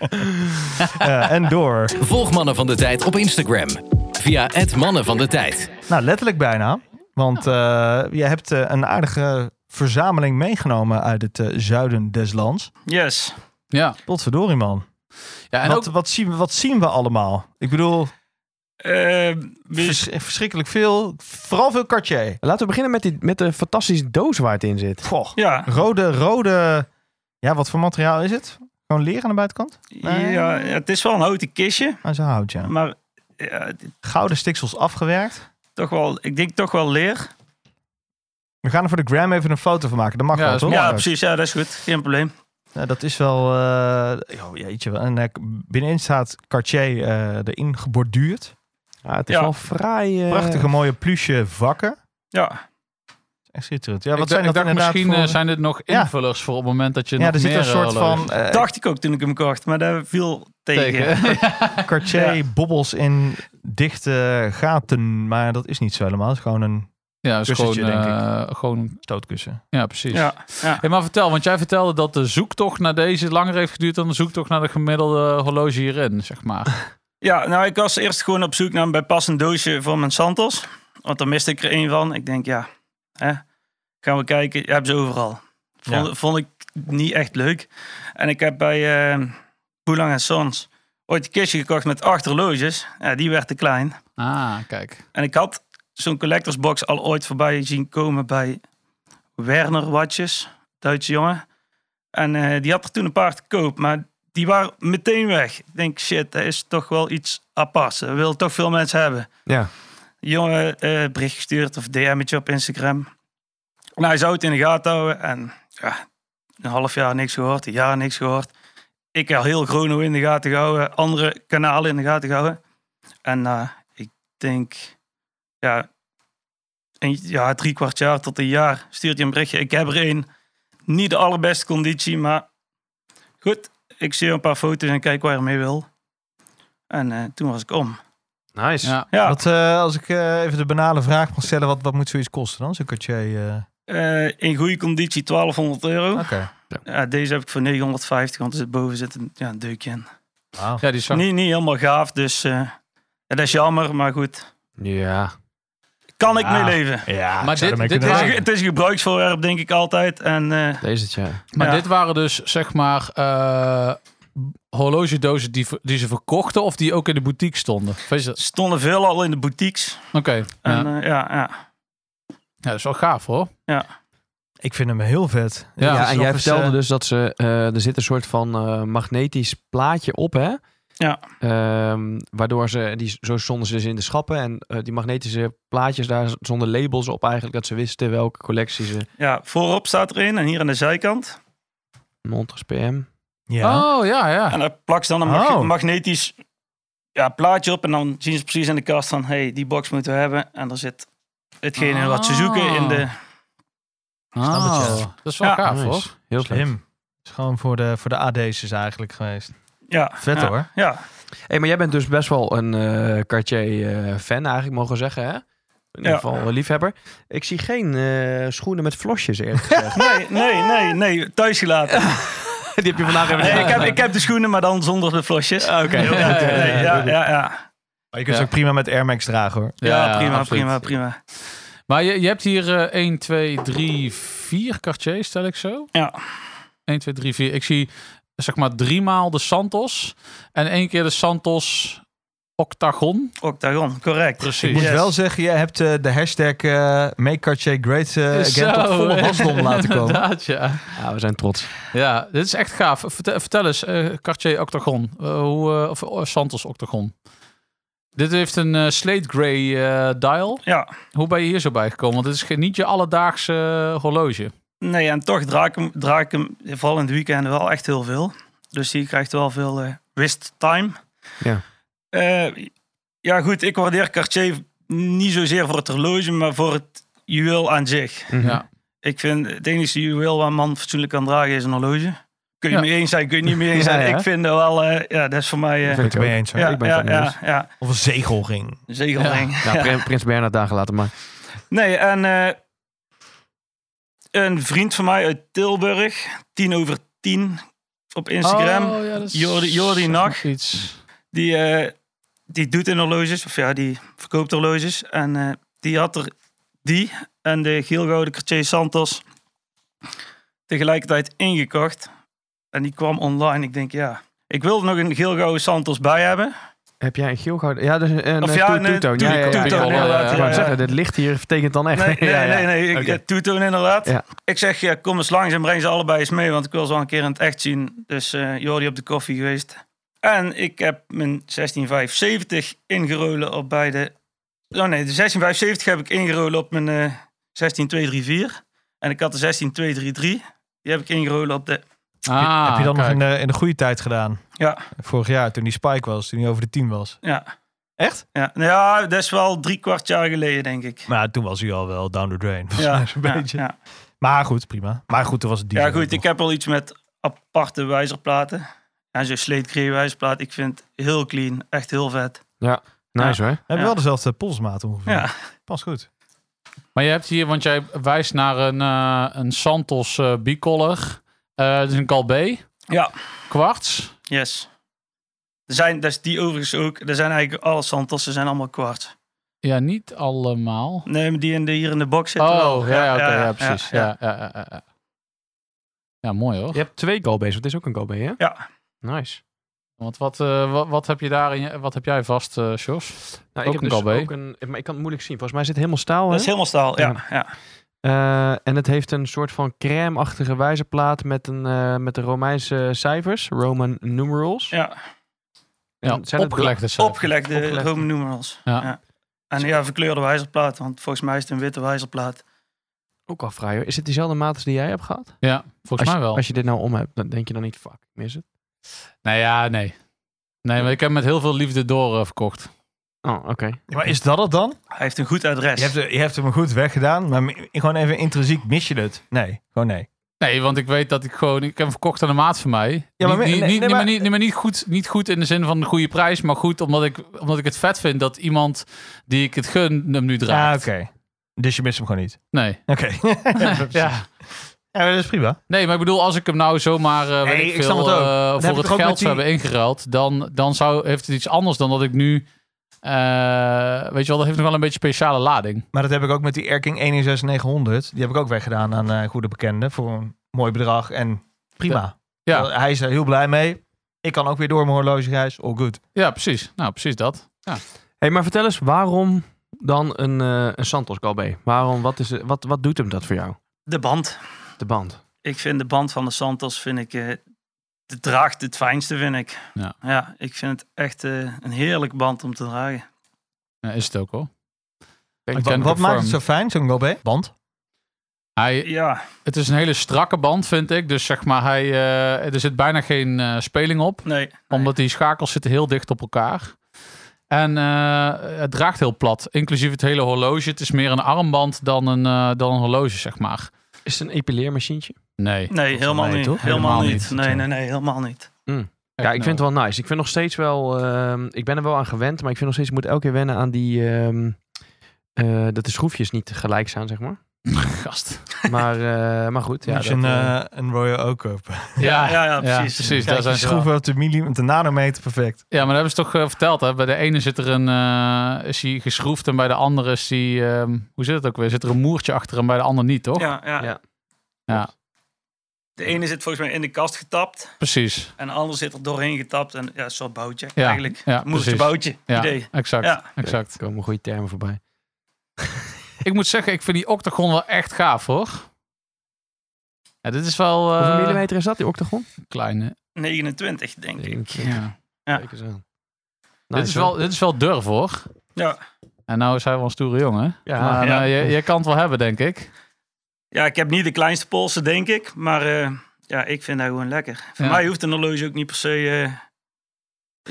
Speaker 2: eh, en door.
Speaker 3: Volg Mannen van de Tijd op Instagram. Via het Mannen van de Tijd.
Speaker 2: Nou, letterlijk bijna. Want eh, je hebt eh, een aardige verzameling meegenomen uit het eh, zuiden des lands.
Speaker 7: Yes.
Speaker 6: Ja.
Speaker 2: Potverdorie, man.
Speaker 6: ja en
Speaker 2: wat,
Speaker 6: ook,
Speaker 2: wat, zien we, wat zien we allemaal? Ik bedoel,
Speaker 7: Eh, dus
Speaker 2: Vers- verschrikkelijk veel. Vooral veel Cartier.
Speaker 5: Laten we beginnen met, die, met de fantastische doos waar het in zit.
Speaker 2: Goh.
Speaker 7: ja,
Speaker 2: Rode, rode... Ja, wat voor materiaal is het? Gewoon leer aan de buitenkant? Nee.
Speaker 7: ja, het is wel een houten kistje,
Speaker 2: Ah, zo hout, ja.
Speaker 7: maar ja, het-
Speaker 2: Gouden stiksels afgewerkt.
Speaker 7: toch wel, ik denk toch wel leer.
Speaker 2: We gaan er voor de gram even een foto van maken. Dat mag
Speaker 6: Ja,
Speaker 2: wel,
Speaker 6: dat is
Speaker 2: toch?
Speaker 7: Ja, precies, ja, dat is goed, geen probleem.
Speaker 2: Ja, dat is wel... eh oh, jeetje. En eh, binnenin staat Cartier eh erin geborduurd.
Speaker 5: Ja, het is
Speaker 7: Ja.
Speaker 5: wel fraai. eh,
Speaker 2: Prachtige mooie pluche vakken.
Speaker 7: Ja,
Speaker 2: Echt schitterend. Ja, wat
Speaker 6: ik,
Speaker 2: zijn
Speaker 6: dacht- ik
Speaker 2: dat inderdaad
Speaker 6: dacht misschien eh,
Speaker 2: voor...
Speaker 6: zijn dit nog
Speaker 2: Ja.
Speaker 6: invullers voor op het moment dat je
Speaker 2: ja,
Speaker 6: nog
Speaker 2: er zit
Speaker 6: meer
Speaker 2: een soort
Speaker 6: eh,
Speaker 2: van
Speaker 6: horloges
Speaker 2: eh,
Speaker 7: dacht ik ook toen ik hem kocht, maar daar viel tegen.
Speaker 6: tegen.
Speaker 2: Cartier bobbels in dichte eh, gaten. Maar dat is niet zo helemaal. Het is gewoon een
Speaker 6: ja, is gewoon,
Speaker 2: Kussentje, denk ik.
Speaker 6: eh, gewoon,
Speaker 2: stootkussen.
Speaker 6: ja, precies.
Speaker 7: Ja, ja.
Speaker 6: Hey, maar vertel, want jij vertelde dat de zoektocht naar deze langer heeft geduurd dan de zoektocht naar de gemiddelde horloge hierin, zeg maar.
Speaker 7: ja, nou ik was eerst gewoon op zoek naar een bijpassend doosje voor mijn Santos. Want daar miste ik er één van. Ik denk, ja, hè, gaan we kijken. Je hebt ze overal. Vond,
Speaker 2: Ja.
Speaker 7: vond ik niet echt leuk. En ik heb bij eh Boulang Sons ooit een kistje gekocht met acht horloges. Ja, die werd te klein.
Speaker 6: Ah, kijk.
Speaker 7: En ik had zo'n collectorsbox al ooit voorbij zien komen bij Werner Watjes, Duitse jongen. En eh, die had er toen een paar te koop, maar die waren meteen weg. Ik denk, shit, dat is toch wel iets aparts. Dat willen toch veel mensen hebben.
Speaker 5: Ja.
Speaker 7: Die jongen eh, bericht gestuurd of DM'tje op Instagram. Nou, hij zou het in de gaten houden en ja, een half jaar niks gehoord, een jaar niks gehoord. Ik al heel Grono in de gaten gehouden, andere kanalen in de gaten gehouden. En eh, ik denk, ja, een, ja, drie kwart jaar tot een jaar stuurt je een berichtje. Ik heb er één. Niet de allerbeste conditie, maar goed. Ik zie een paar foto's en kijk waar je mee wil. En eh, toen was ik om.
Speaker 5: Nice.
Speaker 6: Ja.
Speaker 7: Ja,
Speaker 2: Wat, eh, als ik eh, even de banale vraag mag stellen, wat, wat moet zoiets kosten dan? Zo'n Cartier... eh,
Speaker 7: eh, in goede conditie 1200 euro.
Speaker 2: Oké.
Speaker 7: Ja, deze heb ik voor 950, want er zit boven zit een, ja, een deukje in.
Speaker 2: Wauw.
Speaker 6: Ja, die zag
Speaker 7: Niet, niet helemaal gaaf, dus eh, ja, dat is jammer, maar goed.
Speaker 5: Ja.
Speaker 7: Kan ik
Speaker 2: Ja.
Speaker 7: mee leven.
Speaker 2: Ja,
Speaker 6: Maar
Speaker 2: ik zou
Speaker 6: dit-
Speaker 2: ermee
Speaker 6: dit
Speaker 2: kunnen
Speaker 6: Ja.
Speaker 7: Het is, een-
Speaker 2: leven.
Speaker 7: het is een gebruiksvoorwerp, denk ik altijd. En eh,
Speaker 5: Deze is het, ja.
Speaker 6: Maar
Speaker 7: Ja.
Speaker 6: dit waren dus zeg maar eh, horlogedozen die, ver- die ze verkochten of die ook in de boutique stonden. Weet je
Speaker 7: er
Speaker 6: dat?
Speaker 7: stonden veel al in de boutiques.
Speaker 6: Oké. Ja.
Speaker 7: En, eh, ja, ja.
Speaker 6: ja, dat is wel gaaf hoor.
Speaker 2: Ik vind hem heel vet.
Speaker 6: Ja,
Speaker 5: Ja,
Speaker 2: Het is
Speaker 5: en
Speaker 2: nog
Speaker 5: jij
Speaker 2: eens,
Speaker 5: vertelde
Speaker 2: eh,
Speaker 5: dus dat ze... eh, er zit een soort van eh, magnetisch plaatje op, hè?
Speaker 7: Ja.
Speaker 5: Ehm, waardoor ze... Die, zo stonden ze dus in de schappen. En eh, die magnetische plaatjes, daar zonder labels op eigenlijk... dat ze wisten welke collectie ze...
Speaker 7: Ja, voorop staat er een en hier aan de zijkant.
Speaker 5: Montres PM.
Speaker 2: Ja.
Speaker 6: Oh ja, ja.
Speaker 7: En daar plakt ze dan een mag-
Speaker 2: Oh.
Speaker 7: magnetisch ja, plaatje op. En dan zien ze precies in de kast van, hey, die box moeten we hebben. En daar zit hetgene wat ze zoeken in de...
Speaker 2: snap
Speaker 6: Oh,
Speaker 2: het, ja.
Speaker 6: dat is wel
Speaker 7: Ja.
Speaker 6: gaaf
Speaker 5: Nice.
Speaker 6: hoor.
Speaker 5: Heel slim.
Speaker 2: Slim. Het is gewoon voor de, voor de AD's is eigenlijk geweest.
Speaker 7: Ja,
Speaker 2: Vet
Speaker 7: ja,
Speaker 2: hoor.
Speaker 7: Ja,
Speaker 5: Hey, maar jij bent dus best wel een eh Cartier-fan eigenlijk, mogen we zeggen, hè? In ieder
Speaker 7: Ja.
Speaker 5: geval een liefhebber. Ik zie geen eh, schoenen met flosjes, eerlijk gezegd.
Speaker 7: Nee, nee, nee, nee, thuisgelaten.
Speaker 5: Die heb je vandaag even...
Speaker 7: Nee, ik, heb, ik heb de schoenen, maar dan zonder de flosjes. Oké. Ja, nee, ja, ja, ja.
Speaker 2: Maar je kunt
Speaker 6: Ja.
Speaker 2: ze ook prima met Air Max dragen hoor.
Speaker 7: ja, prima,
Speaker 6: absoluut.
Speaker 7: prima, prima.
Speaker 6: Maar je, je hebt hier eh 1, 2, 3, 4 Cartier, stel ik zo.
Speaker 7: Ja.
Speaker 6: 1, 2, 3, 4. Ik zie zeg maar drie maal de Santos en één keer de Santos Octagon.
Speaker 7: Octagon, correct.
Speaker 2: Ik
Speaker 6: Precies.
Speaker 2: moet
Speaker 7: Yes.
Speaker 2: wel zeggen, jij hebt eh, de hashtag eh Make Cartier Great eh, Again tot
Speaker 6: Zo,
Speaker 2: volle
Speaker 6: hè.
Speaker 2: wasdom laten komen.
Speaker 6: Inderdaad, ja.
Speaker 5: Ja, we zijn trots.
Speaker 6: Ja, dit is echt gaaf. Vertel, vertel eens, eh, Cartier Octagon. Eh, hoe, eh, of eh, Santos Octagon. Dit heeft een eh, slate grey eh, dial.
Speaker 7: Ja,
Speaker 6: Hoe ben je hier zo bij gekomen? Want dit is geen, niet je alledaagse eh, horloge.
Speaker 7: nee, en toch draak ik hem, draak ik hem vooral in het weekend wel echt heel veel. Dus die krijgt wel veel eh, wrist time.
Speaker 5: Ja.
Speaker 7: Eh, ja, goed, ik waardeer Cartier niet zozeer voor het horloge, maar voor het juweel aan zich.
Speaker 5: Mhm.
Speaker 6: Ja.
Speaker 7: Ik vind het enige juweel waar een man fatsoenlijk kan dragen is een horloge. Kun je
Speaker 6: Ja.
Speaker 7: mee eens zijn, kun je niet mee eens
Speaker 5: Ja,
Speaker 7: zijn.
Speaker 5: ja.
Speaker 7: Ik vind dat wel, eh, ja, dat is voor mij... eh,
Speaker 5: Vind
Speaker 2: Ik
Speaker 5: ik
Speaker 2: ben het
Speaker 5: ook.
Speaker 2: mee eens hoor.
Speaker 7: ja,
Speaker 5: ik ben
Speaker 7: ja,
Speaker 5: het daarmee
Speaker 7: ja,
Speaker 5: eens.
Speaker 7: ja,
Speaker 2: Of een zegelring.
Speaker 7: zegelring.
Speaker 5: Ja, Prin- Prins Bernhard dagen later maar.
Speaker 7: Nee, en eh, een vriend van mij uit Tilburg, tien over tien op Instagram,
Speaker 6: Oh, ja, dat is-
Speaker 7: Jordi- Jordi
Speaker 6: zeg maar
Speaker 7: Nag.
Speaker 6: Iets.
Speaker 7: die, eh, die doet in horloges, of ja, die verkoopt horloges. En eh, die had er die en de geelgouden Cartier Santos tegelijkertijd ingekocht. En die kwam online. Ik denk, ja, ik wilde nog een geelgouden Santos bij hebben.
Speaker 5: Heb jij een geel gouden? Ja, dus een
Speaker 7: Of
Speaker 5: eh,
Speaker 7: ja,
Speaker 5: toe-
Speaker 7: een
Speaker 5: toetoon. Ja, ja, ja.
Speaker 7: toetoon,
Speaker 5: Ik wou
Speaker 7: inderdaad,
Speaker 5: het
Speaker 7: ja, ja.
Speaker 5: zeggen, dit licht hier betekent dan echt.
Speaker 7: Nee, nee,
Speaker 5: ja, ja.
Speaker 7: nee, nee. Ik,
Speaker 5: Oké.
Speaker 7: ja, toetoon inderdaad.
Speaker 5: Ja.
Speaker 7: Ik zeg, ja, kom eens langs en breng ze allebei eens mee, want ik wil ze wel een keer in het echt zien. Dus eh Jordi op de koffie geweest. En ik heb mijn 16570 ingerolen op beide... Oh nee, de 16570 heb ik ingerolen op mijn eh 16234. En ik had de 16233. Die heb ik ingerolen op de...
Speaker 6: Ah,
Speaker 2: heb je dan
Speaker 6: kijk.
Speaker 2: nog in de, in de goede tijd gedaan?
Speaker 7: Ja,
Speaker 2: Vorig jaar, toen die Spike was, toen hij over de 10 was.
Speaker 7: ja.
Speaker 2: Echt?
Speaker 7: Ja, nou ja, dat is wel drie kwart jaar geleden, denk ik.
Speaker 2: Maar toen was hij al wel down the drain.
Speaker 7: Ja,
Speaker 2: Ja, een
Speaker 7: ja,
Speaker 2: beetje.
Speaker 7: ja.
Speaker 2: Maar goed, prima. Maar goed, toen was het die.
Speaker 7: ja, goed, ik heb wel iets met aparte wijzerplaten. En zo'n sleetgree wijzerplaat, ik vind heel clean, echt heel vet.
Speaker 5: Nice hoor.
Speaker 2: Hebben
Speaker 7: ja.
Speaker 2: wel dezelfde polsmaat ongeveer.
Speaker 7: Ja,
Speaker 2: Pas goed.
Speaker 6: Maar je hebt hier, want jij wijst naar een, eh, een Santos eh bicolor. Eh dus een Calbé.
Speaker 7: ja
Speaker 6: Kwarts.
Speaker 7: yes. Er zijn, dat is die overigens ook, er zijn eigenlijk alle Santos, ze zijn allemaal kwart.
Speaker 6: Ja, niet allemaal.
Speaker 7: Nee, maar die in de, hier in de box zitten wel.
Speaker 6: Oh, ja, ja, oké, ja, precies. Ja, ja, ja, ja, ja. Ja, mooi hoor.
Speaker 5: Je hebt twee goalbays, want het is ook een goalbay, hè?
Speaker 7: Ja.
Speaker 5: Nice.
Speaker 6: Want wat, eh, wat, wat heb je daar in je, wat heb jij vast, eh Jos?
Speaker 5: Nou,
Speaker 6: Ook
Speaker 5: ik heb
Speaker 6: een
Speaker 5: dus
Speaker 6: goalbay.
Speaker 5: ook een, maar ik kan het moeilijk zien. Volgens mij zit het helemaal staal, hè?
Speaker 7: Dat is helemaal staal, ja. ja.
Speaker 5: Eh, en het heeft een soort van crème-achtige wijzerplaat met, een, eh, met de Romeinse cijfers, Roman numerals.
Speaker 7: ja.
Speaker 6: Ja,
Speaker 5: En zijn het
Speaker 6: opgelegde cijfers.
Speaker 7: Opgelegde
Speaker 5: Opgelegd.
Speaker 7: Roman numerals.
Speaker 6: Ja.
Speaker 7: Ja. En ja, verkleurde wijzerplaat, want volgens mij is het een witte wijzerplaat.
Speaker 5: Ook al fraai hoor. Is het diezelfde maat als die jij hebt gehad?
Speaker 6: Ja, volgens mij wel.
Speaker 5: Als je dit nou om hebt, dan denk je dan niet, fuck, ik mis het.
Speaker 6: Nou ja, nee. Nee, maar ik heb met heel veel liefde door eh, verkocht.
Speaker 5: Oh, oké.
Speaker 2: Maar is dat het dan?
Speaker 7: Hij heeft een goed adres.
Speaker 2: Je hebt, je hebt hem goed weggedaan, maar mi- gewoon even intrinsiek mis je het. Nee, gewoon nee.
Speaker 6: Nee, want ik weet dat ik gewoon... Ik heb hem verkocht aan een maat van mij.
Speaker 2: Ja, maar
Speaker 6: niet,
Speaker 2: me-
Speaker 6: niet,
Speaker 2: nee,
Speaker 6: niet-
Speaker 2: nee,
Speaker 6: maar
Speaker 2: maar-
Speaker 6: niet, nee, maar niet, goed, niet goed in de zin van de goede prijs, maar goed omdat ik, omdat ik het vet vind dat iemand die ik het gun hem nu
Speaker 2: Ja,
Speaker 6: draagt.
Speaker 2: Ah, oké. Dus je mist hem gewoon niet.
Speaker 6: Nee.
Speaker 2: Oké. ja, precies. ja.
Speaker 6: Ja.
Speaker 2: maar dat is prima.
Speaker 6: Nee, maar ik bedoel, als ik hem nou zomaar eh, weet
Speaker 2: Nee,
Speaker 6: ik
Speaker 2: ik snap
Speaker 6: veel,
Speaker 2: het ook.
Speaker 6: eh,
Speaker 2: heb
Speaker 6: voor
Speaker 2: ik
Speaker 6: het
Speaker 2: ook met
Speaker 6: geld zou
Speaker 2: die-
Speaker 6: hebben ingeruild, dan, dan zou, heeft het iets anders dan dat ik nu... eh, weet je wel, dat heeft nog wel een beetje speciale lading.
Speaker 2: Maar dat heb ik ook met die Erking 16900. Die heb ik ook weggedaan aan eh, goede bekenden voor een mooi bedrag. En prima.
Speaker 6: Ja.
Speaker 2: Eh, Hij is er heel blij mee. Ik kan ook weer door mijn horlogereis. All good.
Speaker 6: Ja, precies. Nou, precies dat.
Speaker 5: hey, maar vertel eens, waarom dan een, eh, een Santos goalbay? Waarom, wat, is, het- wat, wat doet hem dat voor jou?
Speaker 7: De band.
Speaker 5: De band.
Speaker 7: Ik vind de band van de Santos, vind ik, eh, de draagt het fijnste, vind ik.
Speaker 6: Ja.
Speaker 7: ik vind het echt eh, een heerlijk band om te dragen.
Speaker 6: Ja, is het ook hoor.
Speaker 5: Denk
Speaker 2: Wat,
Speaker 6: Ken
Speaker 2: wat maakt
Speaker 6: confirm.
Speaker 2: het zo fijn, zo'n gobé? Want?
Speaker 6: Hij,
Speaker 7: Ja,
Speaker 6: Het is een hele strakke band, vind ik. Dus zeg maar, hij, eh, er zit bijna geen eh, speling op.
Speaker 7: nee. nee.
Speaker 6: Omdat die schakels zitten heel dicht op elkaar. En eh, het draagt heel plat. Inclusief het hele horloge. Het is meer een armband dan een, eh, dan een horloge, zeg maar.
Speaker 5: Is het een epileermachientje?
Speaker 6: Nee.
Speaker 7: Nee, helemaal
Speaker 2: mij,
Speaker 7: niet.
Speaker 2: toch?
Speaker 7: Helemaal,
Speaker 6: Helemaal
Speaker 7: niet.
Speaker 6: niet.
Speaker 7: Nee, nee, nee, helemaal niet.
Speaker 5: Ja,
Speaker 6: nou,
Speaker 5: ik vind het wel nice. Ik vind nog steeds wel. ehm, ik ben er wel aan gewend, maar ik vind nog steeds. Ik moet elke keer wennen aan die. ehm, eh, dat de schroefjes niet gelijk zijn, zeg maar.
Speaker 6: gast.
Speaker 5: Maar, eh, maar goed. Ja,
Speaker 2: Moet je
Speaker 5: dat,
Speaker 2: een,
Speaker 5: eh,
Speaker 2: eh, een Royal Oak kopen.
Speaker 6: Ah, Ja,
Speaker 7: ja, ja, precies.
Speaker 6: precies.
Speaker 2: Kijk,
Speaker 6: Daar
Speaker 2: die
Speaker 6: zijn ze wel.
Speaker 2: schroeven op de millimeter, de nanometer, perfect.
Speaker 6: Ja, maar dat hebben ze toch eh, verteld. Hè? Bij de ene zit er een, eh, is hij geschroefd en bij de andere is hij... ehm, hoe zit het ook weer? Zit er een moertje achter en bij de ander niet, toch?
Speaker 7: Ja, ja.
Speaker 5: Ja.
Speaker 6: Ja.
Speaker 7: De ene zit volgens mij in de kast getapt
Speaker 6: Precies.
Speaker 7: en de andere zit er doorheen getapt. En ja, een soort boutje
Speaker 6: Ja,
Speaker 7: eigenlijk.
Speaker 6: ja,
Speaker 7: Een moertje
Speaker 6: precies.
Speaker 7: boutje,
Speaker 6: Ja,
Speaker 7: idee.
Speaker 6: exact.
Speaker 7: Ja.
Speaker 6: exact.
Speaker 5: Er komen goede termen voorbij.
Speaker 6: Ik moet zeggen, ik vind die octagon wel echt gaaf hoor. Ja, dit is wel eh,
Speaker 5: Hoeveel millimeter is dat, die octagon?
Speaker 6: een kleine.
Speaker 7: 29, denk ik.
Speaker 6: Ja.
Speaker 7: Ja.
Speaker 5: Kijk eens aan.
Speaker 6: dit, is wel, dit is wel durf hoor.
Speaker 7: Ja.
Speaker 6: En nou is hij wel een stoere jongen.
Speaker 5: Ja.
Speaker 6: maar
Speaker 7: Ja.
Speaker 6: nou, je, je kan het wel hebben, denk ik.
Speaker 7: Ja, ik heb niet de kleinste polsen, denk ik. Maar eh, ja, ik vind dat gewoon lekker. Voor
Speaker 6: Ja.
Speaker 7: mij hoeft een horloge ook niet per se eh, heel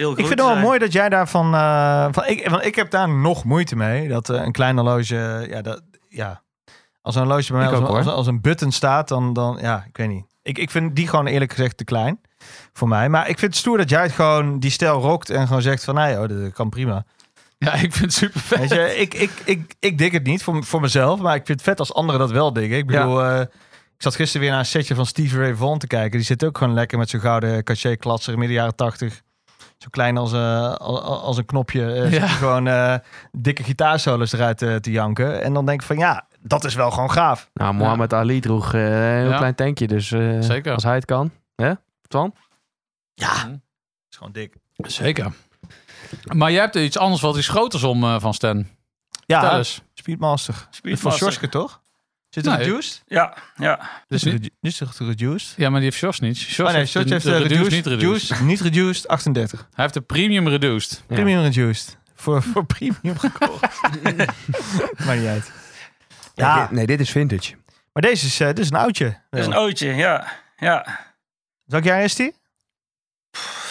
Speaker 7: groot
Speaker 2: Ik vind
Speaker 7: te
Speaker 2: het wel
Speaker 7: zijn.
Speaker 2: mooi dat jij daarvan... eh, van, ik, want ik heb daar nog moeite mee. Dat eh, een klein horloge... Ja, dat, ja. Als een horloge bij mij
Speaker 5: Ik
Speaker 2: als,
Speaker 5: ook,
Speaker 2: een- als,
Speaker 5: hoor.
Speaker 2: als een button staat, dan, dan... Ja, ik weet niet. Ik, ik vind die gewoon eerlijk gezegd te klein voor mij. Maar ik vind het stoer dat jij het gewoon die stijl rokt en gewoon zegt van... Nou joh, dat kan prima.
Speaker 6: Ja, ik vind het super vet.
Speaker 2: Weet je, ik, ik, ik, ik dik het niet voor, voor mezelf, maar ik vind het vet als anderen dat wel dikken. Ik bedoel, eh, ik zat gisteren weer naar een setje van Steve Ray Vaughan te kijken. Die zit ook gewoon lekker met zo'n gouden cachet-klatser midden jaren tachtig. Zo klein als, eh, al- al- als een knopje. eh, zit
Speaker 6: Ja.
Speaker 2: hij gewoon eh, dikke gitaarsolos eruit eh, te janken. En dan denk ik van ja, dat is wel gewoon gaaf.
Speaker 5: Nou, Mohammed Ali droeg eh, een heel
Speaker 6: Ja.
Speaker 5: klein tankje, dus eh,
Speaker 6: Zeker.
Speaker 5: als hij het kan. Hè, Twan?
Speaker 2: is gewoon dik.
Speaker 6: Zeker. Maar jij hebt iets anders wat iets groters om eh, van Stan. Vertel
Speaker 2: Ja,
Speaker 6: eens.
Speaker 2: Speedmaster. Van
Speaker 7: Speedmaster.
Speaker 2: Sjorske, toch? Zit er
Speaker 6: Nee.
Speaker 2: reduced?
Speaker 7: Ja, ja.
Speaker 6: Dus
Speaker 2: Is er redu- is er reduced?
Speaker 6: Ja, maar die heeft Sjors niet. Sjors
Speaker 2: Oh nee,
Speaker 6: heeft
Speaker 2: Sjorske
Speaker 6: de-
Speaker 2: heeft
Speaker 6: de
Speaker 2: eh,
Speaker 6: reduced,
Speaker 2: reduced,
Speaker 6: niet reduced.
Speaker 2: reduced, niet reduced, 38.
Speaker 6: Hij heeft de premium reduced.
Speaker 5: Ja.
Speaker 2: Premium reduced. Voor, voor premium gekocht. Maakt niet uit. Ja,
Speaker 5: Nee, dit, nee, dit is vintage.
Speaker 2: maar deze is, eh, dit is een oudje.
Speaker 7: Dat is een oudje, ja. Ja.
Speaker 2: Welk jaar is die?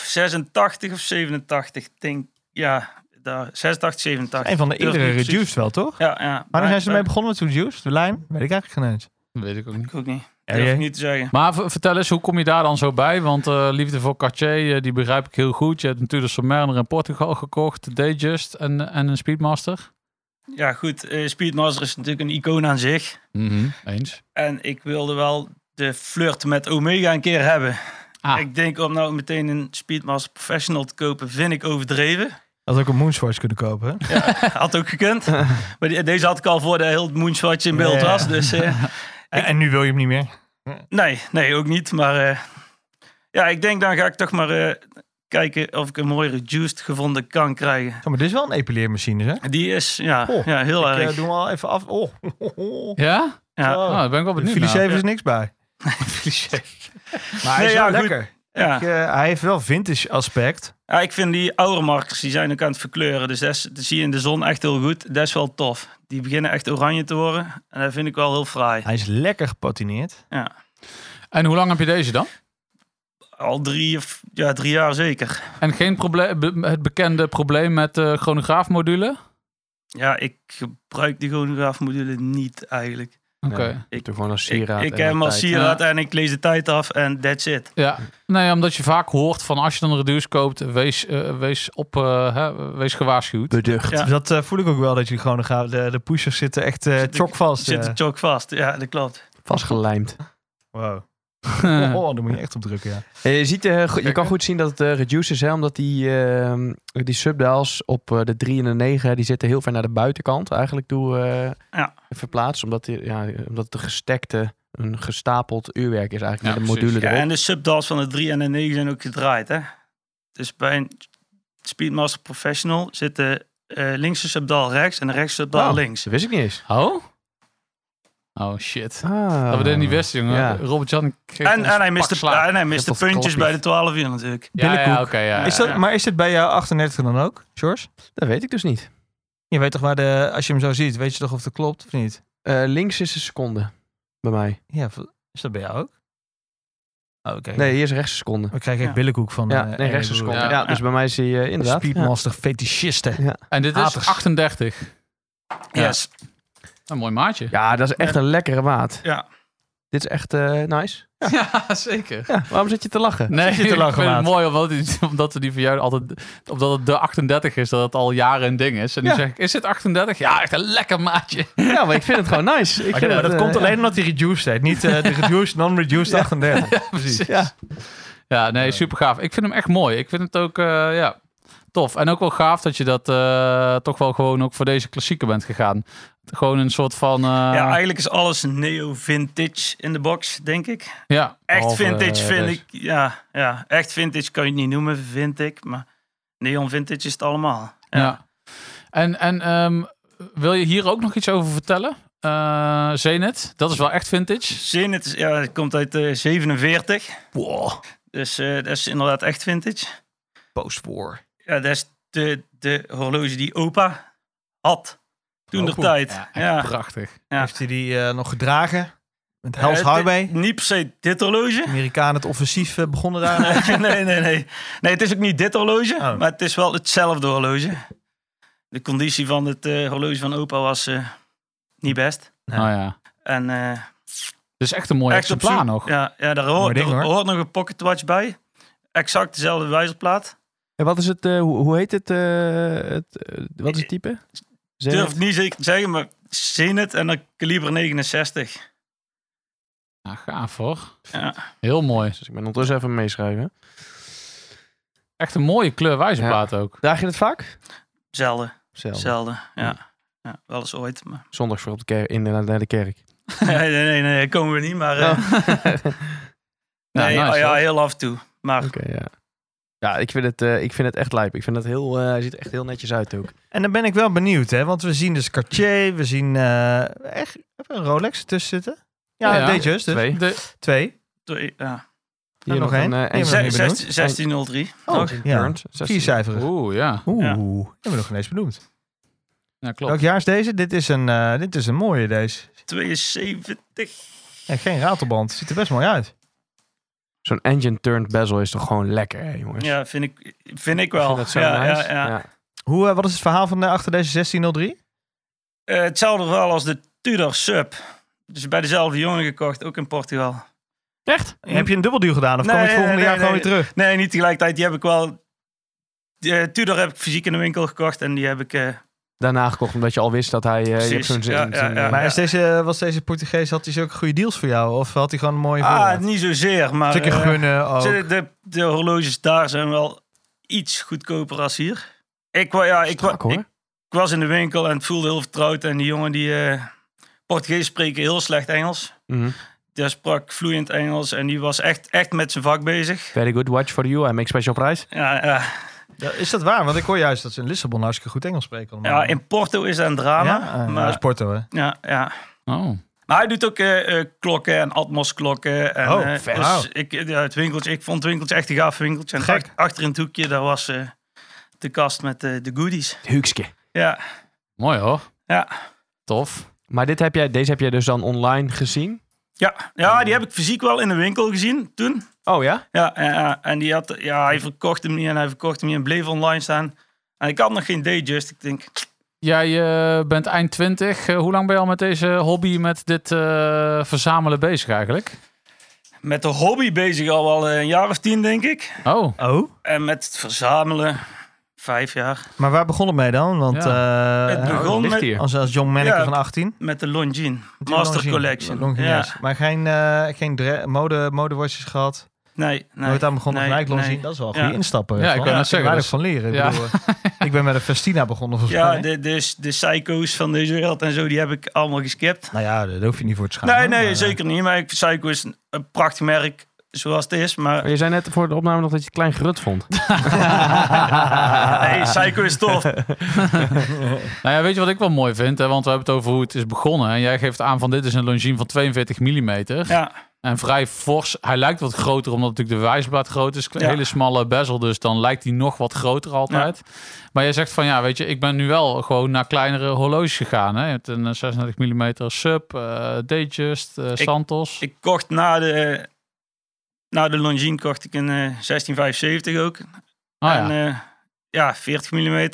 Speaker 7: 86 of 87, denk Ja, daar, 86, 87.
Speaker 2: Een van de
Speaker 7: Durf
Speaker 2: eerdere
Speaker 7: niet precies.
Speaker 2: reduced wel, toch?
Speaker 7: Ja, ja.
Speaker 2: Maar
Speaker 7: Maar-
Speaker 2: zijn ze
Speaker 7: maar-
Speaker 2: ermee begonnen met reduced? De lijm? Weet ik eigenlijk geen eens.
Speaker 6: Dat weet ik ook niet.
Speaker 7: Ik ook niet.
Speaker 2: Ja,
Speaker 7: Durf
Speaker 2: jij?
Speaker 7: ik niet te zeggen.
Speaker 6: Maar v- vertel eens, hoe kom je daar dan zo bij? Want eh, liefde voor Cartier, eh, die begrijp ik heel goed. Je hebt natuurlijk Submariner in Portugal gekocht, de Dayjust en, en een Speedmaster.
Speaker 7: Ja, goed. eh, Speedmaster is natuurlijk een icoon aan zich.
Speaker 6: Mhm, Eens.
Speaker 7: En ik wilde wel de flirt met Omega een keer hebben.
Speaker 6: Ah.
Speaker 7: Ik denk om nou meteen een Speedmaster Professional te kopen, vind ik overdreven.
Speaker 2: Had ook een Moonswatch kunnen kopen. hè?
Speaker 7: Had ook gekund. maar die- deze had ik al voor de heel moonswatch in beeld
Speaker 2: Ja.
Speaker 7: was. Dus eh,
Speaker 2: En, en nu wil je hem niet meer.
Speaker 7: nee, nee, ook niet. Maar eh, ja, ik denk dan ga ik toch maar eh, kijken of ik een mooi reduced gevonden kan krijgen.
Speaker 2: Ja, maar dit is wel een epileermachine, hè?
Speaker 7: Die is ja,
Speaker 2: Oh,
Speaker 7: ja heel
Speaker 2: Ik
Speaker 7: erg.
Speaker 2: eh, doe hem al even af. Oh, oh, oh.
Speaker 6: Ja?
Speaker 7: ja.
Speaker 2: Zo.
Speaker 6: Oh, daar ben ik wel
Speaker 2: De
Speaker 6: benieuwd
Speaker 2: Filiceve
Speaker 6: naar.
Speaker 2: is niks bij. Maar hij
Speaker 7: nou? Nee,
Speaker 2: is
Speaker 7: ja,
Speaker 2: wel
Speaker 7: goed.
Speaker 2: lekker.
Speaker 7: Ja.
Speaker 2: Ik, eh, hij heeft wel vintage aspect.
Speaker 7: Ja, ik vind die oude markers, die zijn ook aan het verkleuren. Dus dat, is- dat zie je in de zon echt heel goed. Dat is wel tof. Die beginnen echt oranje te worden. En dat vind ik wel heel fraai.
Speaker 2: Hij is lekker gepatineerd.
Speaker 6: En hoe lang heb je deze dan?
Speaker 7: Al drie, of, ja, drie jaar zeker.
Speaker 6: En geen probleem, be- het bekende probleem met de chronograafmodule?
Speaker 7: Ja, ik gebruik die chronograafmodule niet eigenlijk.
Speaker 6: Oké.
Speaker 5: Nee,
Speaker 7: Ik-
Speaker 5: doe gewoon als
Speaker 7: Ik,
Speaker 5: sieraad.
Speaker 7: ik
Speaker 5: en
Speaker 7: heb hem als
Speaker 5: tijd.
Speaker 7: sieraad en ik lees de tijd af en that's it.
Speaker 6: Ja, nee, omdat je vaak hoort van als je dan een reduce koopt, wees, eh, wees, op, eh, hè, wees gewaarschuwd.
Speaker 5: Beducht.
Speaker 7: Ja.
Speaker 2: Dat eh, voel ik ook wel, dat jullie gewoon gaan. De, de pushers zitten echt eh
Speaker 7: Zitten-
Speaker 2: chockvast.
Speaker 7: Zit
Speaker 2: eh.
Speaker 7: er chock vast. Ja, dat klopt.
Speaker 5: Vastgelijmd.
Speaker 2: Wow. Oh, oh, daar moet je echt op drukken, ja.
Speaker 5: Eh, je, ziet, eh, go- je
Speaker 6: Kijk,
Speaker 5: kan
Speaker 6: hè.
Speaker 5: goed zien dat het eh, reduced is, hè, omdat die, eh, die subdials op eh, de 3 en de 9, die zitten heel ver naar de buitenkant eigenlijk toe eh,
Speaker 7: Ja.
Speaker 5: verplaatst. Omdat, die, ja, omdat de gestekte een gestapeld uurwerk is eigenlijk
Speaker 6: Ja,
Speaker 5: met een
Speaker 6: precies.
Speaker 5: module
Speaker 7: Ja,
Speaker 5: erop.
Speaker 7: en de subdals van de 3 en de 9 zijn ook gedraaid. Hè? Dus bij een Speedmaster Professional zitten eh links de subdal rechts en de rechts subdal
Speaker 5: Oh,
Speaker 7: links.
Speaker 5: Dat wist ik niet eens.
Speaker 6: Oh? Oh shit.
Speaker 5: Ah.
Speaker 6: Dat we dit niet wisten, jongen.
Speaker 5: Ja.
Speaker 6: Robert-Jan geeft
Speaker 7: En,
Speaker 6: ons
Speaker 7: en hij
Speaker 6: een pak
Speaker 7: miste,
Speaker 6: slaag.
Speaker 7: en hij miste
Speaker 5: Even
Speaker 7: puntjes
Speaker 5: klappies.
Speaker 7: bij de 12 uur natuurlijk.
Speaker 6: Ja, ja,
Speaker 2: billenkoek.
Speaker 6: oké, ja.
Speaker 2: Is dat,
Speaker 7: ja.
Speaker 2: maar is dit bij jou 38 dan ook, George?
Speaker 5: Dat weet ik dus niet.
Speaker 2: Je weet toch waar de, als je hem zo ziet, weet je toch of dat klopt of niet?
Speaker 5: Eh, links is een seconde bij mij.
Speaker 2: Ja, v- is dat bij jou ook? Oh, oké.
Speaker 5: Nee, hier is rechts een seconde.
Speaker 2: We krijgen echt
Speaker 7: Ja.
Speaker 2: billenkoek van.
Speaker 5: Ja,
Speaker 2: eh,
Speaker 5: nee, rechts een
Speaker 2: Erwin
Speaker 5: seconde.
Speaker 2: Broer.
Speaker 5: Ja,
Speaker 6: Ja.
Speaker 5: dus bij mij is die eh, inderdaad.
Speaker 2: Speedmaster fetischisten.
Speaker 5: Ja.
Speaker 6: En dit is
Speaker 2: Haters.
Speaker 6: 38. Ja.
Speaker 7: Yes.
Speaker 6: Een mooi maatje.
Speaker 5: Ja, dat is echt een lekkere maat.
Speaker 7: Ja.
Speaker 5: Dit is echt eh, nice.
Speaker 6: Ja, zeker.
Speaker 5: Ja, waarom zit je te lachen?
Speaker 6: Nee,
Speaker 2: zit te lachen,
Speaker 6: ik vind het
Speaker 2: maat.
Speaker 6: mooi omdat, die- omdat we die van jou altijd, omdat het de 38 is, dat het al jaren een ding is. En nu
Speaker 5: Ja.
Speaker 6: zeg ik, is het 38? Ja, echt een lekker maatje.
Speaker 5: Ja, maar ik vind het gewoon nice. Ik
Speaker 2: Maar,
Speaker 5: vind
Speaker 2: maar dat
Speaker 5: het, eh,
Speaker 2: komt alleen omdat hij reduced heet. Niet eh, de reduced, non-reduced 38.
Speaker 6: precies.
Speaker 5: Ja.
Speaker 6: Ja, nee, super gaaf. Ik vind hem echt mooi. Ik vind het ook, eh, ja, tof. En ook wel gaaf dat je dat eh, toch wel gewoon ook voor deze klassieker bent gegaan. Gewoon een soort van, eh,
Speaker 7: ja, e-
Speaker 6: ja,
Speaker 7: eigenlijk is alles neo-vintage in de box, denk ik. Echt
Speaker 6: Behalve,
Speaker 7: vintage
Speaker 6: eh,
Speaker 7: vind
Speaker 6: deze.
Speaker 7: ik, ja, ja. Echt vintage kan je het niet noemen, vind ik. Maar neon-vintage is het allemaal.
Speaker 6: Ja. En, en ehm, wil je hier ook nog iets over vertellen? Eh Zenit, dat is wel echt vintage.
Speaker 7: Zin, het, is, ja, het komt uit eh, 47. Dus eh, dat is inderdaad echt vintage.
Speaker 2: Post-war.
Speaker 7: Ja, dat is de, de horloge die opa had toen de
Speaker 2: Oh,
Speaker 7: tijd.
Speaker 6: Ja, echt
Speaker 7: Ja.
Speaker 6: prachtig.
Speaker 7: Ja.
Speaker 2: Heeft hij die eh, nog gedragen? Met Hell's
Speaker 7: Eh, dit-
Speaker 2: Highway.
Speaker 7: Niet per se dit horloge.
Speaker 2: Amerikanen het offensief eh, begonnen daar.
Speaker 7: nee, nee, nee. Nee, het is ook niet dit horloge,
Speaker 2: Oh.
Speaker 7: maar het is wel hetzelfde horloge. De conditie van het eh, horloge van opa was eh, niet best.
Speaker 2: Ja.
Speaker 6: Nou ja.
Speaker 7: En eh
Speaker 6: Dus echt een mooi
Speaker 7: echt op
Speaker 6: exemplaar
Speaker 7: zoek-
Speaker 6: nog.
Speaker 7: Ja, ja daar hoort,
Speaker 2: ding,
Speaker 7: er
Speaker 2: hoor.
Speaker 7: hoort nog een pocketwatch bij. Exact dezelfde wijzerplaat.
Speaker 5: En wat is het, eh, hoe, hoe heet het, eh, het eh, wat is het type?
Speaker 7: Ik
Speaker 5: Zenith?
Speaker 7: durf het niet zeker te zeggen, maar Zenit en dan kaliber 69.
Speaker 6: Ja, gaaf hoor.
Speaker 7: Ja.
Speaker 6: Heel mooi.
Speaker 5: Dus ik ben ondertussen even meeschrijven.
Speaker 6: Echt een mooie kleur wijzerplaat ook.
Speaker 5: Draag je het vaak?
Speaker 7: Zelden,
Speaker 5: Zelf.
Speaker 7: zelden. Ja. ja, wel eens ooit. Maar...
Speaker 5: Zondags voor op de kerk, in de, naar de kerk.
Speaker 7: nee, nee, nee, nee, komen we niet, maar... eh,
Speaker 5: Oh.
Speaker 6: Ja,
Speaker 7: nee,
Speaker 6: nice,
Speaker 7: oh ja,
Speaker 6: hoor.
Speaker 7: heel af en toe. Maar
Speaker 5: Oké, ja. Ja, ik vind het, eh, ik vind het echt lijp. Ik vind het heel, eh, hij ziet er echt heel netjes uit ook.
Speaker 2: En dan ben ik wel benieuwd, hè? Want we zien dus Cartier, we zien eh, echt hebben we een Rolex ertussen zitten. Ja,
Speaker 6: Ja, ja.
Speaker 2: deze dus. Twee.
Speaker 5: Twee.
Speaker 6: De,
Speaker 2: twee.
Speaker 7: Twee- ja.
Speaker 5: Hier
Speaker 2: nog één.
Speaker 5: eh,
Speaker 2: Die hebben we nog
Speaker 7: Zes-
Speaker 2: niet
Speaker 7: zestien- Oh, 1603.
Speaker 5: Oh.
Speaker 7: Nog.
Speaker 2: ja.
Speaker 5: Burnt, 16.
Speaker 2: Viercijferig. Oeh,
Speaker 6: oeh, ja.
Speaker 7: Ja.
Speaker 2: hebben we nog geen eens benoemd.
Speaker 6: ja
Speaker 2: Welk
Speaker 6: klopt.
Speaker 2: jaar is deze? Dit is een, eh, dit is een mooie deze.
Speaker 7: 72.
Speaker 2: En geen ratelband. Ziet er best mooi uit.
Speaker 5: Zo'n engine turned bezel is toch gewoon lekker, hè, jongens?
Speaker 7: Ja, vind ik, vind ik
Speaker 5: Ik
Speaker 7: wel.
Speaker 5: vind dat zo
Speaker 7: ja,
Speaker 5: nice.
Speaker 7: ja, ja.
Speaker 2: Hoe, eh, wat is het verhaal van eh, achter deze 1603?
Speaker 7: Eh, hetzelfde verhaal als de Tudor Sub. Dus bij dezelfde jongen gekocht, ook in Portugal.
Speaker 5: Echt?
Speaker 2: Heb je een dubbelduur gedaan of
Speaker 7: Mm. Nee,
Speaker 2: kom je het volgende
Speaker 7: nee,
Speaker 2: jaar
Speaker 7: nee,
Speaker 2: gewoon weer terug?
Speaker 7: Nee, niet tegelijkertijd. Die heb ik wel... De Tudor heb ik fysiek in de winkel gekocht en die heb ik... eh,
Speaker 5: Daarna gekocht omdat je al wist dat hij... eh, je
Speaker 7: Precies,
Speaker 5: hebt zo'n-
Speaker 7: ja,
Speaker 5: zo'n-
Speaker 7: ja, ja.
Speaker 5: eh,
Speaker 2: Maar is deze, was deze Portugees, had hij zulke goede deals voor jou? Of had hij gewoon een mooie
Speaker 7: ah,
Speaker 2: voorraad?
Speaker 7: niet zozeer, maar...
Speaker 2: Zeker
Speaker 7: eh,
Speaker 2: gunnen ook.
Speaker 7: ze- de, de horloges daar zijn wel iets goedkoper als hier. Ik, wa- ja, ik, wa-
Speaker 5: strak, hoor.
Speaker 7: ik, ik was in de winkel en het voelde heel vertrouwd. En die jongen die... eh, Portugees spreken heel slecht Engels.
Speaker 5: Mhm.
Speaker 7: Die sprak vloeiend Engels en die was echt, echt met zijn vak bezig.
Speaker 5: Very good watch for you. I make special price.
Speaker 7: Ja, ja.
Speaker 2: Ja, is dat waar? Want ik hoor juist dat ze in Lissabon hartstikke goed Engels spreken. allemaal.
Speaker 7: Ja, in Porto is dat een drama.
Speaker 2: Ja, eh, dat is
Speaker 7: maar,
Speaker 2: Porto, hè?
Speaker 7: ja, ja.
Speaker 6: Oh.
Speaker 7: maar hij doet ook eh, eh, klokken en atmosklokken. En,
Speaker 2: Oh,
Speaker 7: eh,
Speaker 2: vet.
Speaker 7: dus ik, ja, het winkeltje, ik vond het winkeltje echt een gaaf winkeltje. En
Speaker 2: Gek.
Speaker 7: ach- achter in het hoekje, daar was eh, de kast met eh, de goodies.
Speaker 5: Huukske.
Speaker 7: Ja,
Speaker 6: Mooi hoor.
Speaker 7: ja.
Speaker 6: Tof.
Speaker 5: Maar dit heb jij, deze heb jij dus dan online gezien?
Speaker 7: Ja, ja, die heb ik fysiek wel in de winkel gezien toen.
Speaker 5: Oh ja?
Speaker 7: Ja, en, ja, en die had, ja, hij verkocht hem niet en hij verkocht hem niet en bleef online staan. En ik had nog geen Dayjust. Ik denk,
Speaker 6: Jij eh, bent eind 20. Eh, hoe lang ben je al met deze hobby, met dit eh, verzamelen bezig eigenlijk?
Speaker 7: met de hobby bezig al wel eh, een jaar of tien, denk ik.
Speaker 6: Oh,
Speaker 2: Oh,
Speaker 7: En met het verzamelen, vijf jaar.
Speaker 2: maar waar begon het mee dan? Want eh,
Speaker 7: Het begon
Speaker 5: Oh, ligt
Speaker 7: met-
Speaker 5: hier.
Speaker 2: als, als jong manneke
Speaker 7: Ja.
Speaker 2: van 18.
Speaker 7: Met de Longines
Speaker 2: Die
Speaker 7: Master
Speaker 2: Longines-
Speaker 7: Collection.
Speaker 2: Longines,
Speaker 7: ja.
Speaker 2: Maar geen, eh, geen dre- mode, modewatches gehad.
Speaker 7: Nee, nee.
Speaker 2: Nooit aan begonnen
Speaker 7: nee,
Speaker 2: gelijk Longines.
Speaker 7: nee.
Speaker 2: Dat is wel een
Speaker 7: Ja.
Speaker 2: goede instappen.
Speaker 6: Ja, ik
Speaker 2: kan
Speaker 6: wou net zeggen,
Speaker 2: Weinig
Speaker 6: dus-
Speaker 2: van leren. Ik,
Speaker 6: ja.
Speaker 2: bedoel, eh, ik ben met een Festina begonnen volgens
Speaker 7: Ja,
Speaker 2: mij.
Speaker 7: de, de, de psycho's van deze wereld en zo, die heb ik allemaal geskipt.
Speaker 2: Nou ja, daar hoef je niet voor te schamen.
Speaker 7: Nee, nee,
Speaker 2: maar, eh,
Speaker 7: zeker niet. Maar ik, Psycho is een- een prachtig merk, zoals het is. Maar
Speaker 5: Je zei net voor de opname nog dat je het klein gerut vond.
Speaker 7: nee, Psycho is tof.
Speaker 6: Nou ja, weet je wat ik wel mooi vind? Hè? Want we hebben het over hoe het is begonnen. En jij geeft aan van dit is een Longines van 42 mm.
Speaker 7: Ja,
Speaker 6: En vrij fors. Hij lijkt wat groter, omdat natuurlijk de wijsblad groot is. Een
Speaker 7: Ja.
Speaker 6: hele smalle bezel, dus dan lijkt hij nog wat groter altijd. Maar jij zegt van, ja, weet je, ik ben nu wel gewoon naar kleinere horloges gegaan. Hè? Je hebt een eh, 36 mm sub, eh Datejust, eh, Santos.
Speaker 7: ik kocht na de, na de Longines kocht ik een eh, 1675 ook.
Speaker 6: Ah, ja.
Speaker 7: en eh, ja, 40 mm.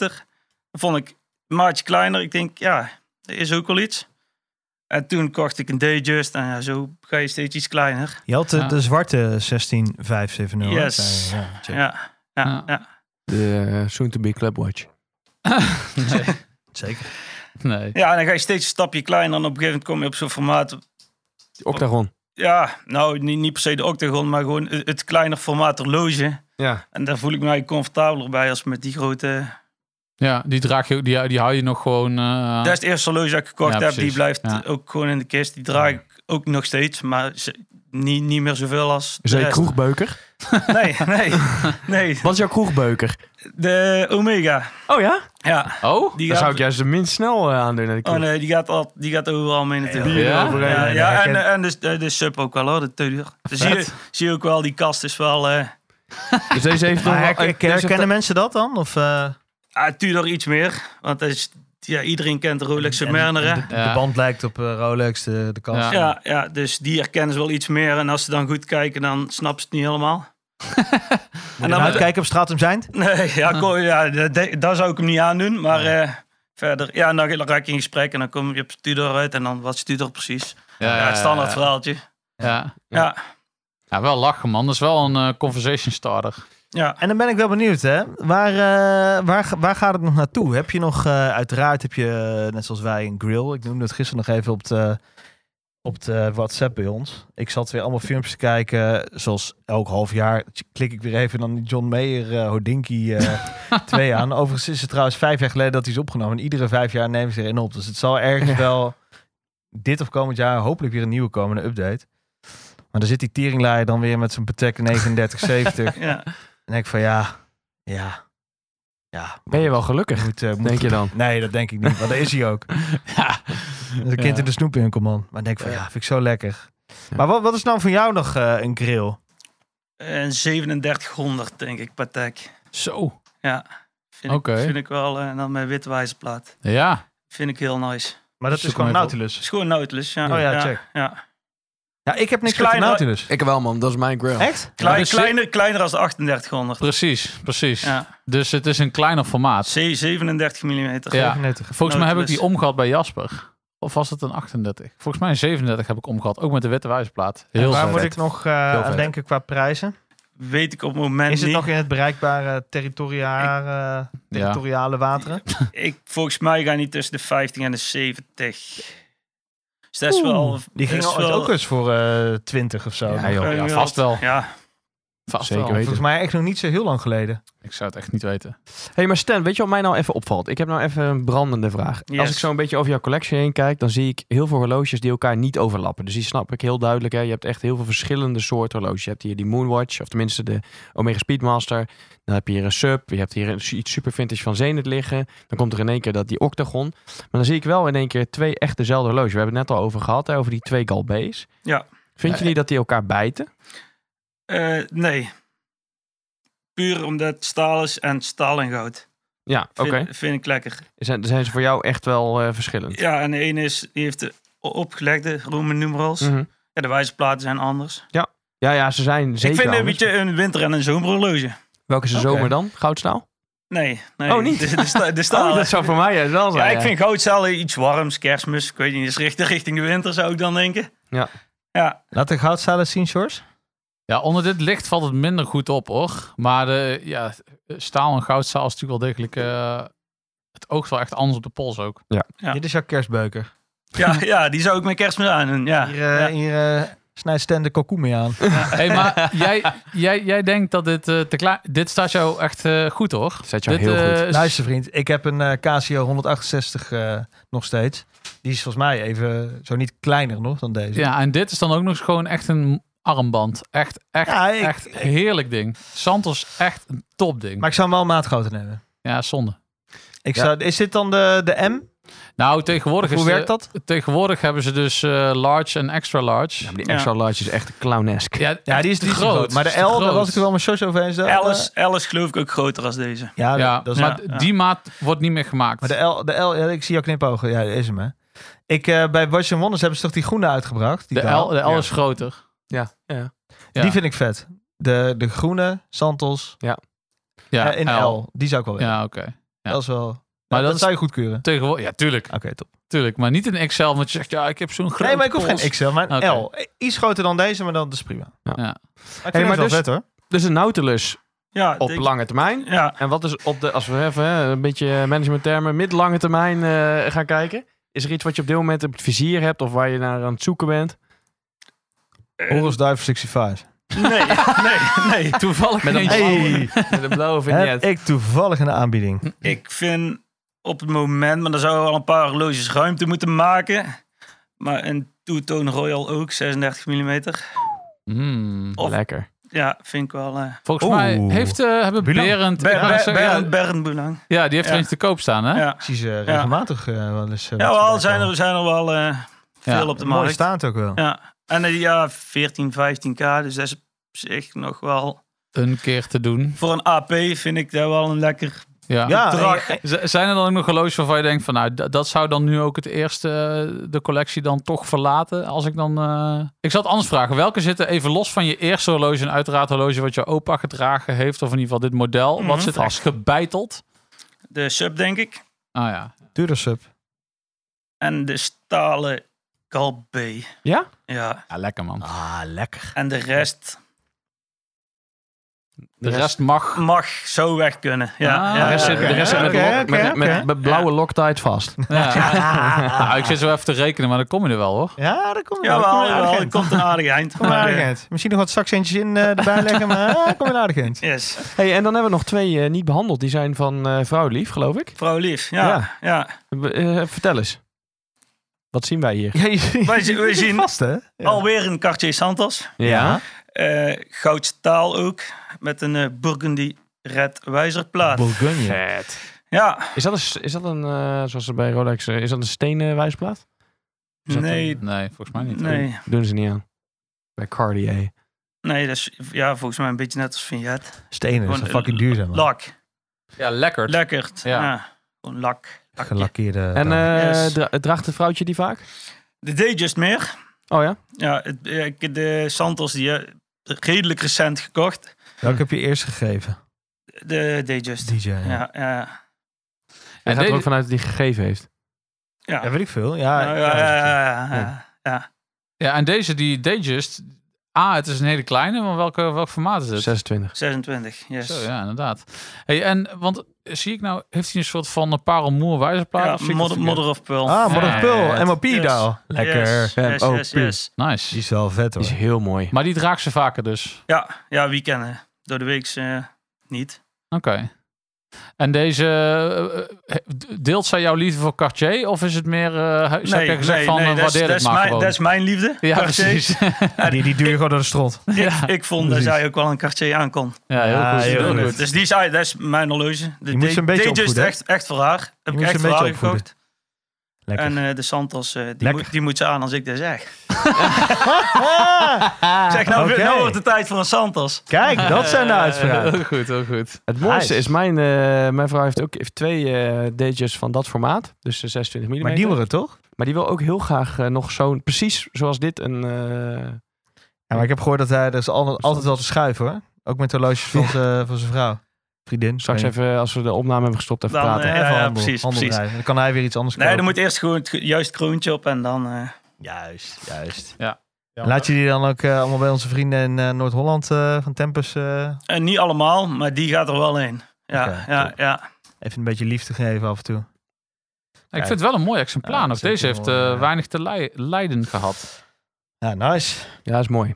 Speaker 7: Vond ik een maatje kleiner. Ik denk, ja, er is ook wel iets. En toen kocht ik een Dayjust en ja, zo ga je steeds iets kleiner.
Speaker 2: Je had de,
Speaker 6: Ja.
Speaker 2: de zwarte 16570. hè?
Speaker 7: Yes.
Speaker 2: Ja, check.
Speaker 7: Ja, ja,
Speaker 6: Ja.
Speaker 7: ja.
Speaker 5: De eh, soon-to-be clubwatch.
Speaker 2: Zeker.
Speaker 6: nee.
Speaker 7: ja, en dan ga je steeds een stapje kleiner en op een gegeven moment kom je op zo'n formaat.
Speaker 5: Octagon.
Speaker 7: Ja, nou, niet, niet per se de octagon, maar gewoon het, het kleiner formaat horloge.
Speaker 5: Ja.
Speaker 7: En daar voel ik mij comfortabeler bij als met die grote...
Speaker 6: Ja, die draag je, die, die hou je nog gewoon... eh,
Speaker 7: Dat is het eerste horloge dat ik gekocht
Speaker 6: Ja,
Speaker 7: heb. Die
Speaker 6: precies.
Speaker 7: blijft
Speaker 6: Ja.
Speaker 7: ook gewoon in de kist. Die draag ik ook nog steeds, maar ze- niet, niet meer zoveel als de
Speaker 5: Zijn
Speaker 7: rest.
Speaker 5: kroegbeuker?
Speaker 7: Nee, nee, nee.
Speaker 5: Wat is jouw kroegbeuker?
Speaker 7: De Omega.
Speaker 5: Oh ja?
Speaker 7: Ja,
Speaker 6: Oh?
Speaker 7: die
Speaker 5: Dan zou
Speaker 7: gaat,
Speaker 5: ik juist de minst snel eh, aandoen naar de
Speaker 7: oh
Speaker 5: kroeg.
Speaker 7: nee, die gaat, al, die gaat overal mee natuurlijk.
Speaker 6: Ja?
Speaker 7: Ja, ja,
Speaker 2: nee,
Speaker 7: ja,
Speaker 2: ik
Speaker 7: en, eh,
Speaker 2: ken-
Speaker 7: en dus, de, de, de sub ook wel hoor, de Tudor. Dus zie je, zie je ook wel, die kast is wel... eh
Speaker 5: Dus deze heeft nog
Speaker 2: Maar
Speaker 5: wel-
Speaker 2: her-
Speaker 6: eh,
Speaker 5: deze heeft-
Speaker 2: herkennen mensen dat dan? Of, eh,
Speaker 7: ah, Tudor iets meer, want dat is, ja, iedereen kent de Rolex Submariner hè.
Speaker 2: de,
Speaker 6: Ja.
Speaker 2: de band lijkt op eh, Rolex, de, de kast.
Speaker 6: Ja.
Speaker 7: Ja, ja, dus die herkennen ze wel iets meer. En als ze dan goed kijken, dan snappen ze het niet helemaal. en dan,
Speaker 2: Uitkijken op straat om zijn.
Speaker 7: nee, ja, ko- ja dat, dat- dat zou ik hem niet aandoen. Maar eh, verder, ja, en dan, dan raak je in gesprek en dan kom je op Tudor uit. En dan, wat is Tudor precies? Ja, het standaard verhaaltje.
Speaker 6: Ja.
Speaker 7: Ja,
Speaker 6: ja, wel lachen man. Dat is wel een eh, conversation starter.
Speaker 7: ja.
Speaker 2: En dan ben ik wel benieuwd, hè? Waar, eh, waar, ga- waar gaat het nog naartoe? Heb je nog, eh, uiteraard heb je, eh, net zoals wij, een grill. Ik noemde het gisteren nog even op de, op de WhatsApp bij ons. Ik zat weer allemaal filmpjes te kijken. Zoals elk half jaar klik ik weer even dan die John Mayer eh, Hodinky eh 2 aan. Overigens is het trouwens vijf jaar geleden dat hij is opgenomen. En iedere vijf jaar nemen ze er een op. Dus het zal ergens wel dit of komend jaar hopelijk weer een nieuwe komende update. Maar dan zit die teringlaaier dan weer met zijn Patek 3970.
Speaker 7: ja.
Speaker 2: denk ik van ja, ja, ja.
Speaker 5: Ben je wel gelukkig,
Speaker 2: Moet, eh, moet-
Speaker 5: denk je dan?
Speaker 2: Nee, dat denk ik niet. Maar dat is hij ook.
Speaker 6: Ja.
Speaker 2: Dat is een kind in de snoepwinkel, man. Maar ik denk van ja, vind ik zo lekker.
Speaker 5: Ja.
Speaker 2: Maar wat, wat is nou voor jou nog eh, een grill?
Speaker 7: En 3700, denk ik, Patek.
Speaker 6: Zo.
Speaker 7: Ja, vind, ik-
Speaker 6: Oké.
Speaker 7: vind ik wel. eh, En dan mijn witte wijzerplaat.
Speaker 6: Ja.
Speaker 7: Vind ik heel nice.
Speaker 2: Maar dat is
Speaker 6: Zoek
Speaker 2: gewoon
Speaker 6: hem even
Speaker 2: Nautilus.
Speaker 7: Het is gewoon Nautilus, ja.
Speaker 2: Oh ja,
Speaker 7: ja,
Speaker 2: check.
Speaker 7: ja.
Speaker 2: Ja, ik heb niks
Speaker 7: Kleiner-
Speaker 2: van Nautilus.
Speaker 5: Ik wel, man. Dat is mijn grill.
Speaker 2: Echt?
Speaker 7: Klein-
Speaker 6: dus-
Speaker 7: kleiner, kleiner als de 3800.
Speaker 6: Precies, precies.
Speaker 7: Ja.
Speaker 6: Dus het is een kleiner formaat.
Speaker 7: C 37 mm.
Speaker 6: Ja.
Speaker 2: 39.
Speaker 6: Volgens mij heb ik
Speaker 7: Nautilus.
Speaker 6: die omgehad bij Jasper. Of was het een 38? Volgens mij een 37 heb ik omgehad. Ook met de witte wijzerplaat. Heel
Speaker 2: Waar
Speaker 6: vet.
Speaker 2: moet ik nog eh, aan
Speaker 6: vet.
Speaker 2: denken qua prijzen?
Speaker 7: Weet ik op het moment
Speaker 2: Is het
Speaker 7: niet.
Speaker 2: nog in het bereikbare territoriale, territoriale wateren?
Speaker 7: Ik, volgens mij ga niet tussen de 50 en de 70. Dus dat is wel...
Speaker 2: Die ging
Speaker 7: dat is
Speaker 2: al-
Speaker 7: wel-
Speaker 2: ook eens voor eh 20 of zo.
Speaker 6: Ja, joh.
Speaker 7: eh,
Speaker 6: Ja, vast wel.
Speaker 7: Ja,
Speaker 6: Vast
Speaker 5: Zeker
Speaker 6: wel.
Speaker 5: weten.
Speaker 2: Volgens mij echt nog niet zo heel lang geleden.
Speaker 6: Ik zou het echt niet weten.
Speaker 5: hey, maar Stan, weet je wat mij nou even opvalt? Ik heb nou even een brandende vraag.
Speaker 7: Yes.
Speaker 5: Als ik zo een beetje over jouw collectie heen kijk, dan zie ik heel veel horloges die elkaar niet overlappen. Dus die snap ik heel duidelijk. Hè. Je hebt echt heel veel verschillende soorten horloges. Je hebt hier die Moonwatch, of tenminste de Omega Speedmaster. Dan heb je hier een Sub. Je hebt hier een, iets super vintage van Zenith liggen. Dan komt er in één keer dat die Octagon. Maar dan zie ik wel in één keer twee echt dezelfde horloges. We hebben het net al over gehad, hè, over die twee Galbees.
Speaker 7: Ja.
Speaker 5: Vind je niet dat die elkaar bijten?
Speaker 7: eh, nee. Puur omdat het staal is en staal en goud.
Speaker 5: Ja, oké.
Speaker 7: Vind, vind ik lekker.
Speaker 5: Zijn, zijn ze voor jou echt wel eh, verschillend?
Speaker 7: Ja, en de ene is, die heeft de o- opgelegde Roman numerals.
Speaker 5: Mhm.
Speaker 7: Ja, de wijzerplaten zijn anders.
Speaker 5: Ja, ja, ze zijn zeker
Speaker 7: ik vind een
Speaker 5: anders.
Speaker 7: beetje een winter- en een zomerhorloge.
Speaker 5: Welke is de
Speaker 2: Oké.
Speaker 5: zomer dan? Goudstaal?
Speaker 7: Nee, nee.
Speaker 5: Oh, niet?
Speaker 7: De, de, sta- de staal.
Speaker 5: Oh, dat zou voor mij juist wel
Speaker 7: ja,
Speaker 5: zijn.
Speaker 7: ik vind goudcellen iets warms, kerstmis. Ik weet niet, is richting, richting de winter zou ik dan denken.
Speaker 5: Ja.
Speaker 7: Ja,
Speaker 2: Laat de goudstalen zien, Sjors.
Speaker 6: Ja, onder dit licht valt het minder goed op, hoor. Maar de, ja, staal en goudstaal is natuurlijk wel degelijk... eh, het oogt wel echt anders op de pols ook.
Speaker 7: Ja.
Speaker 2: Dit is jouw kerstbeuker.
Speaker 7: ja, ja, die zou ik met kerstmis aandoen. Ja.
Speaker 2: Hier, eh,
Speaker 7: Ja.
Speaker 2: hier eh, snijdt Stan de kalkoen mee aan.
Speaker 6: Hé, hey, maar jij, jij, jij denkt dat dit eh, te klaar... Dit staat jou echt eh, goed, hoor.
Speaker 5: Staat jou
Speaker 6: dit,
Speaker 5: heel
Speaker 6: eh,
Speaker 5: goed.
Speaker 6: is-
Speaker 2: Luister vriend, ik heb een eh, Casio 168 eh, nog steeds. Die is volgens mij even, zo niet kleiner nog dan deze.
Speaker 6: Ja, en dit is dan ook nog eens gewoon echt een armband. Echt, echt,
Speaker 2: Ja, ik-
Speaker 6: echt heerlijk ding. Santos echt een top ding.
Speaker 2: Maar ik zou hem wel een maat groter nemen.
Speaker 6: ja, zonde.
Speaker 2: Ik
Speaker 5: Ja.
Speaker 2: zou, is dit dan de, de M?
Speaker 6: Nou, tegenwoordig
Speaker 2: Hoe
Speaker 6: is
Speaker 2: werkt
Speaker 6: de-
Speaker 2: dat?
Speaker 6: Tegenwoordig hebben ze dus eh, large en extra large.
Speaker 5: Ja, maar die extra large is echt clownesk.
Speaker 6: Ja,
Speaker 2: Ja, die is
Speaker 6: te
Speaker 2: die is te groot. Maar
Speaker 6: Is
Speaker 2: de
Speaker 6: te
Speaker 2: L,
Speaker 6: groot.
Speaker 2: daar was ik er wel mijn shorts over eens. Dat,
Speaker 7: L
Speaker 2: eh,
Speaker 7: is, L is geloof ik ook groter als deze.
Speaker 2: ja,
Speaker 6: Ja,
Speaker 2: dat is
Speaker 6: maar
Speaker 7: ja.
Speaker 6: die maat wordt niet meer gemaakt.
Speaker 2: Maar de L, de L ja, ik zie jou knipogen. Ja, dat is hem, hè. Ik, eh, bij Watch and Wonders hebben ze toch die groene uitgebracht? Die
Speaker 6: de
Speaker 2: taal?
Speaker 6: L, de L
Speaker 2: Ja.
Speaker 6: is groter.
Speaker 5: Ja, ja.
Speaker 6: ja.
Speaker 2: Die vind ik vet. De, de groene, Santos,
Speaker 6: Ja,
Speaker 2: eh, in L. Die zou ik wel willen.
Speaker 6: Ja, oké. ja.
Speaker 2: Dat is wel... Maar
Speaker 6: dat
Speaker 2: dat,
Speaker 6: is-
Speaker 2: zou je goedkeuren.
Speaker 6: Tegenwoordig, ja, tuurlijk,
Speaker 2: Oké, top.
Speaker 6: tuurlijk. Maar niet in XL, want je zegt, ja, ik heb zo'n grote
Speaker 2: Nee, maar ik hoef
Speaker 6: pols.
Speaker 2: geen XL, maar een
Speaker 6: Oké.
Speaker 2: L. Iets groter dan deze, maar dat is prima.
Speaker 5: Ja.
Speaker 6: Ja.
Speaker 2: Maar ik vind
Speaker 5: maar
Speaker 2: het wel
Speaker 5: dus-
Speaker 2: vet, hoor.
Speaker 5: Dus een Nautilus
Speaker 7: Ja,
Speaker 5: op
Speaker 7: ik-
Speaker 5: lange termijn.
Speaker 7: ja,
Speaker 5: En wat is op de, als we even hè, een beetje managementtermen, mid-lange termijn eh, gaan kijken. Is er iets wat je op dit moment op het vizier hebt of waar je naar aan het zoeken bent?
Speaker 7: Eh.
Speaker 2: Horus Diver 65.
Speaker 7: nee, nee, nee.
Speaker 6: Toevallig
Speaker 5: Met een
Speaker 6: ineens-
Speaker 5: blauwe, met een blauwe
Speaker 2: Heb
Speaker 5: vignet.
Speaker 2: ik toevallig een aanbieding.
Speaker 7: Ik vind op het moment, maar dan zouden we al een paar horloges ruimte moeten maken. Maar een Two-Tone Royal ook, 36 mm.
Speaker 6: Hmm.
Speaker 7: Of-
Speaker 5: Lekker.
Speaker 7: Ja, vind ik wel... eh
Speaker 6: Volgens
Speaker 2: Oeh.
Speaker 6: mij heeft, eh, hebben
Speaker 2: Bulang.
Speaker 6: Berend...
Speaker 7: Ber-
Speaker 6: ik wou
Speaker 7: Ber-
Speaker 6: zeggen, ja,
Speaker 7: Berend- Berend Boulang.
Speaker 6: ja, die heeft
Speaker 7: Ja.
Speaker 6: er eens te koop staan, hè?
Speaker 7: Ja,
Speaker 2: Ik zie ze regelmatig eh, wel eens... eh,
Speaker 7: ja
Speaker 2: wat
Speaker 7: wel,
Speaker 2: voorbij
Speaker 7: zijn
Speaker 2: komen.
Speaker 7: er, zijn er wel eh, veel
Speaker 6: Ja.
Speaker 7: op de
Speaker 2: Mooi
Speaker 7: markt.
Speaker 2: staand ook wel.
Speaker 7: Ja, en eh, ja, 14, 15k, dus dat is op zich nog wel...
Speaker 6: Een keer te doen.
Speaker 7: Voor een AP vind ik dat wel een lekker
Speaker 6: Ja.
Speaker 2: Ah, Ja,
Speaker 7: bedrag.
Speaker 2: en-
Speaker 6: Z- Zijn er dan ook nog horloges waarvan je denkt van nou, d- dat zou dan nu ook het eerste eh, de collectie dan toch verlaten als ik dan... eh, Ik zal het anders vragen. Welke zitten even los van je eerste horloge en uiteraard horloge wat je opa gedragen heeft of in ieder geval dit model.
Speaker 7: Mhm.
Speaker 6: Wat zit als gebeiteld?
Speaker 7: de sub, denk ik.
Speaker 6: Ah ja.
Speaker 2: Duurder sub.
Speaker 7: En de stalen galbé.
Speaker 5: Ja?
Speaker 7: Ja,
Speaker 6: Ja, lekker man.
Speaker 2: Ah, lekker.
Speaker 7: en de rest
Speaker 6: De rest mag.
Speaker 7: mag zo weg kunnen. Ja,
Speaker 6: Ah,
Speaker 7: ja,
Speaker 5: De rest zit,
Speaker 7: ja.
Speaker 5: de rest zit met,
Speaker 2: Oké,
Speaker 5: lock-
Speaker 2: oké,
Speaker 5: met, met,
Speaker 2: oké.
Speaker 5: met blauwe Loctite vast.
Speaker 6: Ja. Nou, ik zit zo even te rekenen, maar dan kom je er wel hoor.
Speaker 2: Ja, dat komt
Speaker 7: Ja,
Speaker 2: dat komt
Speaker 7: wel,
Speaker 2: een aardig
Speaker 7: wel,
Speaker 2: eind.
Speaker 7: het komt een aardig eind.
Speaker 2: Kom een
Speaker 7: Maar,
Speaker 2: aardig
Speaker 7: eh,
Speaker 2: eind. Misschien nog wat zakcentjes in eh, erbij leggen, maar ah, kom een aardig eind.
Speaker 7: Yes,
Speaker 5: Hey, en dan hebben we nog twee eh, niet behandeld. Die zijn van eh vrouw Lief, geloof ik.
Speaker 7: vrouw lief. Ja,
Speaker 5: Ja.
Speaker 7: ja.
Speaker 5: We- eh, vertel eens. Wat zien wij hier?
Speaker 2: Ja, je,
Speaker 7: Wij zien- wij
Speaker 2: je zit
Speaker 7: zien-
Speaker 2: vast, hè? Ja.
Speaker 7: Alweer een Cartier Santos.
Speaker 5: Ja.
Speaker 7: eh goudstaal ook. Met een eh, Burgundy Red wijzerplaat.
Speaker 2: Bourgogne.
Speaker 5: Vet.
Speaker 7: ja,
Speaker 5: Is dat een, s- is dat een eh, zoals ze bij Rolex, eh, is dat een stenen wijsplaat? Is dat
Speaker 7: nee,
Speaker 5: een-
Speaker 6: Nee, volgens mij Ah, niet.
Speaker 7: nee.
Speaker 5: Doen ze niet aan. Bij Cartier.
Speaker 7: Nee, dat is ja, volgens mij een beetje net als vignet.
Speaker 2: Stenen, dat is
Speaker 7: Gewoon eh,
Speaker 2: wel fucking duurzaam. man.
Speaker 7: Lak.
Speaker 6: Ja, lekker.
Speaker 7: Lekker.
Speaker 6: Ja.
Speaker 7: Ja. Gewoon lak. lakje.
Speaker 2: Gelakkeerde.
Speaker 5: En
Speaker 2: dan.
Speaker 5: eh,
Speaker 7: Yes.
Speaker 5: dra- draagt het vrouwtje die vaak?
Speaker 7: De Dayjust meer.
Speaker 5: Oh ja?
Speaker 7: Ja, het, eh, ik- de Santos die eh, redelijk recent gekocht.
Speaker 2: Welke heb je eerst gegeven?
Speaker 7: De Dayjust.
Speaker 2: DJ. Ja,
Speaker 7: Ja, ja.
Speaker 5: Hij gaat
Speaker 6: deze-
Speaker 5: er ook vanuit dat hij gegeven heeft.
Speaker 7: Ja,
Speaker 2: weet ik veel. Ja,
Speaker 7: ja,
Speaker 2: ja,
Speaker 7: ja, ja, ja, ja.
Speaker 6: Ja, en deze, die Dayjust. Ah, het is een hele kleine, maar welke, welk formaat is het?
Speaker 5: 26.
Speaker 7: 26, yes.
Speaker 6: Zo, ja, inderdaad. Hey, en, want zie ik nou, heeft hij een soort van een parelmoer wijzerplaat?
Speaker 7: Ja,
Speaker 6: of zie ik dat
Speaker 7: modder,
Speaker 6: verkeerd?
Speaker 7: modder of pearl.
Speaker 2: Ah, maar
Speaker 6: Ja,
Speaker 2: dat
Speaker 6: ja, ja.
Speaker 2: pul. MOP
Speaker 7: Yes.
Speaker 2: daal. Lekker.
Speaker 7: Yes, yes,
Speaker 5: Oh,
Speaker 7: yes,
Speaker 5: puur.
Speaker 7: yes.
Speaker 2: Die
Speaker 6: Nice.
Speaker 2: is wel vet
Speaker 5: Die is
Speaker 2: hoor.
Speaker 5: heel mooi.
Speaker 6: Maar die draagt ze vaker dus.
Speaker 7: Ja, ja, weekenden. Door de week eh, niet.
Speaker 6: Oké. En deze, eh, eh, deelt zij jouw liefde voor Cartier? Of is het meer, eh heb jij gezegd van, eh,
Speaker 7: dat is-
Speaker 6: waardeer
Speaker 7: dat
Speaker 6: het
Speaker 7: is
Speaker 6: maar
Speaker 7: mijn-
Speaker 6: gewoon?
Speaker 7: Dat is mijn liefde.
Speaker 6: ja,
Speaker 7: Cartier.
Speaker 6: precies.
Speaker 2: Die, die duw je gewoon door de strot.
Speaker 6: ja.
Speaker 7: Ik, ik vond
Speaker 2: Precies.
Speaker 7: dat zij ook wel een Cartier aankon.
Speaker 6: ja, heel
Speaker 2: Ja,
Speaker 6: goed.
Speaker 2: heel
Speaker 6: heel
Speaker 2: goed.
Speaker 6: goed.
Speaker 7: Dus die is, dat is mijn horloge. De
Speaker 2: Je moet ze een beetje
Speaker 7: Datejust
Speaker 2: opvoeden, hè?
Speaker 7: echt, echt voor haar.
Speaker 2: moet
Speaker 7: Heb ik
Speaker 2: ze
Speaker 7: echt
Speaker 2: een
Speaker 7: voor haar
Speaker 2: beetje opvoeden.
Speaker 7: gekocht.
Speaker 2: Lekker.
Speaker 7: En eh, de Santos, eh, die,
Speaker 2: Lekker.
Speaker 7: moet, die moet ze aan als ik dat zeg.
Speaker 2: Ah,
Speaker 7: Ik zeg, nou,
Speaker 2: oké.
Speaker 7: nou wordt het tijd voor een Santos.
Speaker 2: Kijk, dat zijn de uitspraken.
Speaker 6: Heel goed, heel goed.
Speaker 5: Het mooiste
Speaker 2: Nice.
Speaker 5: is, mijn, eh, mijn vrouw heeft ook heeft twee eh DJ's van dat formaat. Dus de 26 mm.
Speaker 2: Maar nieuwere toch?
Speaker 5: Maar die wil ook heel graag eh, nog zo'n, precies zoals dit, een... eh,
Speaker 2: Ja, maar ik heb gehoord dat hij er is al- altijd wel te schuiven hoor. Ook met horloges van, zijn- eh, van zijn vrouw. Vriendin.
Speaker 5: straks
Speaker 2: Nee.
Speaker 5: even, als we de opname hebben gestopt, even
Speaker 7: Dan,
Speaker 5: praten.
Speaker 7: eh,
Speaker 2: Even
Speaker 7: Ja, ja,
Speaker 2: handel,
Speaker 7: precies,
Speaker 2: handel
Speaker 7: precies.
Speaker 2: drijven. Dan kan hij weer iets anders
Speaker 7: Nee,
Speaker 2: kopen.
Speaker 7: er moet eerst gewoon het ge- juist kroontje op en dan... eh,
Speaker 2: Juist, juist.
Speaker 6: Ja.
Speaker 2: En Laat je die dan ook eh, allemaal bij onze vrienden in eh, Noord-Holland eh, van Tempus eh,
Speaker 7: en niet allemaal, maar die gaat er wel in. Ja,
Speaker 2: Oké,
Speaker 7: ja,
Speaker 2: top.
Speaker 7: ja.
Speaker 2: even een beetje liefde geven af en toe.
Speaker 6: Ik vind het wel een mooi exemplaar.
Speaker 2: Ja,
Speaker 6: nog.
Speaker 2: zeker
Speaker 6: Deze heeft
Speaker 2: wel,
Speaker 6: eh,
Speaker 2: ja.
Speaker 6: weinig te lij- lijden gehad.
Speaker 2: Ja, nice.
Speaker 5: Ja, is mooi.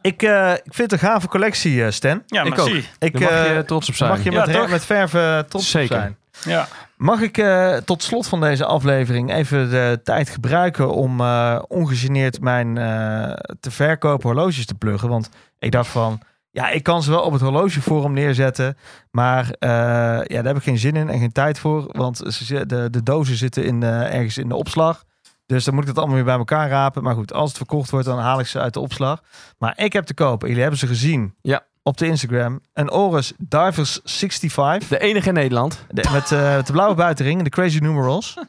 Speaker 2: Ik, eh, ik vind het een gave collectie, eh, Stan.
Speaker 7: Ja,
Speaker 2: ik
Speaker 7: merci.
Speaker 2: Ik,
Speaker 5: Daar mag
Speaker 2: eh,
Speaker 5: je trots op zijn.
Speaker 2: mag je
Speaker 7: Ja,
Speaker 2: met, re-
Speaker 7: toch?
Speaker 2: met verf eh, trots op
Speaker 5: Zeker.
Speaker 2: zijn.
Speaker 7: Ja,
Speaker 2: Mag ik eh, tot slot van deze aflevering even de tijd gebruiken om eh, ongegeneerd mijn eh, te verkopen horloges te pluggen? Want ik dacht van, ja, ik kan ze wel op het horlogeforum neerzetten, maar eh, ja, daar heb ik geen zin in en geen tijd voor, want ze, zi- de, de dozen zitten in, eh, ergens in de opslag. Dus dan moet ik het allemaal weer bij elkaar rapen. Maar goed, als het verkocht wordt, dan haal ik ze uit de opslag. Maar ik heb te kopen, jullie hebben ze gezien
Speaker 5: Ja.
Speaker 2: op de Instagram, een Oris Divers 65.
Speaker 5: De enige in Nederland.
Speaker 2: De- met eh, de blauwe buitenring, en de crazy numerals.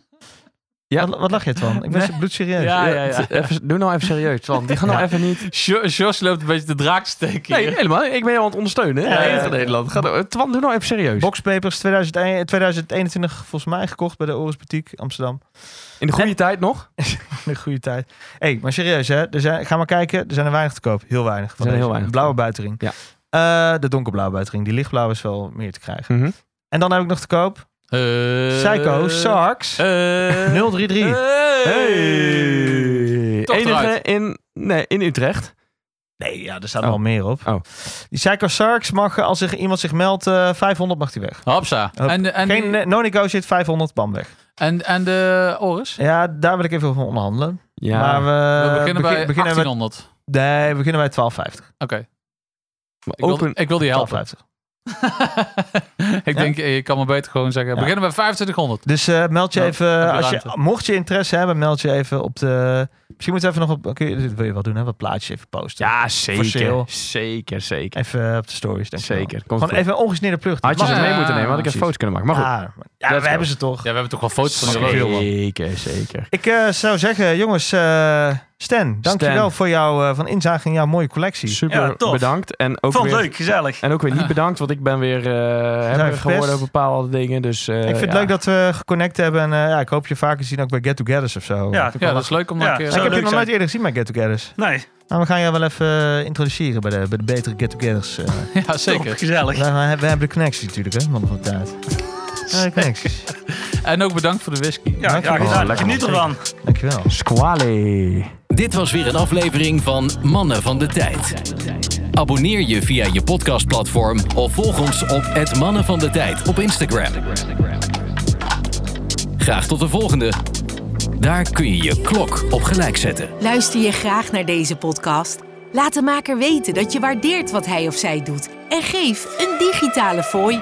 Speaker 5: Ja.
Speaker 2: Wat, wat lach je het van? Ik ben zo bloedserieus.
Speaker 6: Ja, ja, ja.
Speaker 5: Even, doe nou even serieus, want die gaan nou even niet...
Speaker 6: Jo- Jos loopt een beetje de draak te steken
Speaker 5: Nee,
Speaker 6: hier.
Speaker 5: helemaal. Ik ben jou aan het ondersteunen. hè?
Speaker 2: Ja,
Speaker 5: de
Speaker 2: ja,
Speaker 5: enige in
Speaker 2: ja.
Speaker 5: Nederland. Ga, nou- Twan, doe nou even serieus.
Speaker 2: Boxpapers 2001 2021 volgens mij gekocht bij de Oris Boutique Amsterdam.
Speaker 5: In de goede tijd nog.
Speaker 2: Een goede tijd. Hé, hey, maar serieus hè. Er zijn, ga maar kijken. Er zijn er weinig te koop. Heel weinig. Van
Speaker 5: zijn er
Speaker 2: deze.
Speaker 5: heel weinig.
Speaker 2: Blauwe buitenring.
Speaker 5: Ja.
Speaker 2: Eh, de donkerblauwe buitenring. Die lichtblauwe is wel meer te krijgen.
Speaker 5: Mhm.
Speaker 2: En dan heb ik nog te koop.
Speaker 6: Eh,
Speaker 2: Psycho Sarks
Speaker 6: eh,
Speaker 2: 033.
Speaker 5: Hey.
Speaker 6: Toch
Speaker 5: Enige
Speaker 6: eruit.
Speaker 5: in, nee, in Utrecht.
Speaker 2: Nee, ja, er staat
Speaker 5: Oh.
Speaker 2: wel meer op.
Speaker 5: Oh.
Speaker 2: Die Psycho Sarks mag, eh, als er iemand zich meldt, eh, 500 mag die weg.
Speaker 6: Hopsa.
Speaker 2: Hop.
Speaker 6: En, de- en,
Speaker 2: Geen
Speaker 6: die-
Speaker 2: eh, no-negotiate 500, bam weg.
Speaker 6: en, en de Oris?
Speaker 2: Ja, daar wil ik even over onderhandelen.
Speaker 5: Ja.
Speaker 2: Maar we,
Speaker 6: we beginnen
Speaker 2: Eh, begin-
Speaker 6: bij
Speaker 2: beginnen met,
Speaker 6: 1800.
Speaker 2: Nee, we beginnen bij 12,50.
Speaker 6: Oké. Ik, wil-
Speaker 5: open,
Speaker 6: ik wil die helpen.
Speaker 2: 12,50.
Speaker 6: ik
Speaker 2: Ja?
Speaker 6: denk, eh, je kan maar beter gewoon zeggen.
Speaker 2: Ja.
Speaker 6: Beginnen bij 2500.
Speaker 2: Dus eh, meld je
Speaker 6: Nou, heb
Speaker 2: even,
Speaker 6: je
Speaker 2: als je,
Speaker 6: ruimte.
Speaker 2: mocht je interesse hebben, meld je even op de... Misschien moeten we even nog op... Kun je, dit wil je wel doen, hè? Wat plaatjes even posten.
Speaker 5: ja,
Speaker 2: sale.
Speaker 5: zeker. Zeker, zeker.
Speaker 2: Even op de stories, denk ik wel.
Speaker 5: Zeker. Komt
Speaker 2: Gewoon
Speaker 5: goed.
Speaker 2: even een ongesneerde plug.
Speaker 5: Had je
Speaker 6: Ja,
Speaker 5: ze mee moeten nemen, had ik
Speaker 2: precies.
Speaker 5: even foto's kunnen maken. Maar goed.
Speaker 2: Ja, maar- ja,
Speaker 5: Let's
Speaker 2: we
Speaker 5: go.
Speaker 2: hebben ze toch.
Speaker 6: Ja, we hebben toch wel foto's van die
Speaker 2: Zeker.
Speaker 6: horloge.
Speaker 5: Zeker, zeker.
Speaker 2: Ik eh, zou zeggen, jongens, eh Stan, dankjewel
Speaker 5: Stan.
Speaker 2: voor jouw eh, van inzage in jouw mooie collectie.
Speaker 5: Super
Speaker 7: Ja, tof.
Speaker 5: bedankt. En ook,
Speaker 7: vond
Speaker 5: weer,
Speaker 7: het leuk, gezellig.
Speaker 5: en ook weer niet bedankt, want ik ben weer eh hebberig
Speaker 2: verpest.
Speaker 5: geworden op bepaalde dingen. Dus, eh,
Speaker 2: ik vind
Speaker 5: ja.
Speaker 2: het leuk dat we geconnect hebben. En eh, ja, ik hoop je vaker te zien ook bij Get Togethers of zo.
Speaker 7: Ja,
Speaker 6: Ja, dat is leuk om dan
Speaker 7: Ja,
Speaker 6: een keer...
Speaker 2: ik
Speaker 7: zou
Speaker 2: heb je
Speaker 7: leuk
Speaker 2: nog
Speaker 7: zijn.
Speaker 2: nooit eerder gezien bij Get Togethers.
Speaker 7: Nee,
Speaker 2: Nou, we gaan jou wel even eh, introduceren bij de, bij de betere get-togethers. eh.
Speaker 6: Ja,
Speaker 7: top,
Speaker 6: zeker.
Speaker 7: gezellig.
Speaker 2: we, we hebben we hebben de connecties natuurlijk, hè, man van de tijd. Ja, de connecties.
Speaker 6: En ook bedankt voor de whisky.
Speaker 7: Ja, graag
Speaker 2: Oh,
Speaker 7: gedaan.
Speaker 2: lekker.
Speaker 7: Geniet ervan.
Speaker 2: Dankjewel.
Speaker 5: Squally.
Speaker 3: Dit was weer een aflevering van Mannen van de Tijd. Abonneer je via je podcastplatform of volg ons op het Mannen van de Tijd op Instagram. Graag tot de volgende. Daar kun je je klok op gelijk zetten.
Speaker 1: Luister je graag naar deze podcast? Laat de maker weten dat je waardeert wat hij of zij doet en geef een digitale fooi.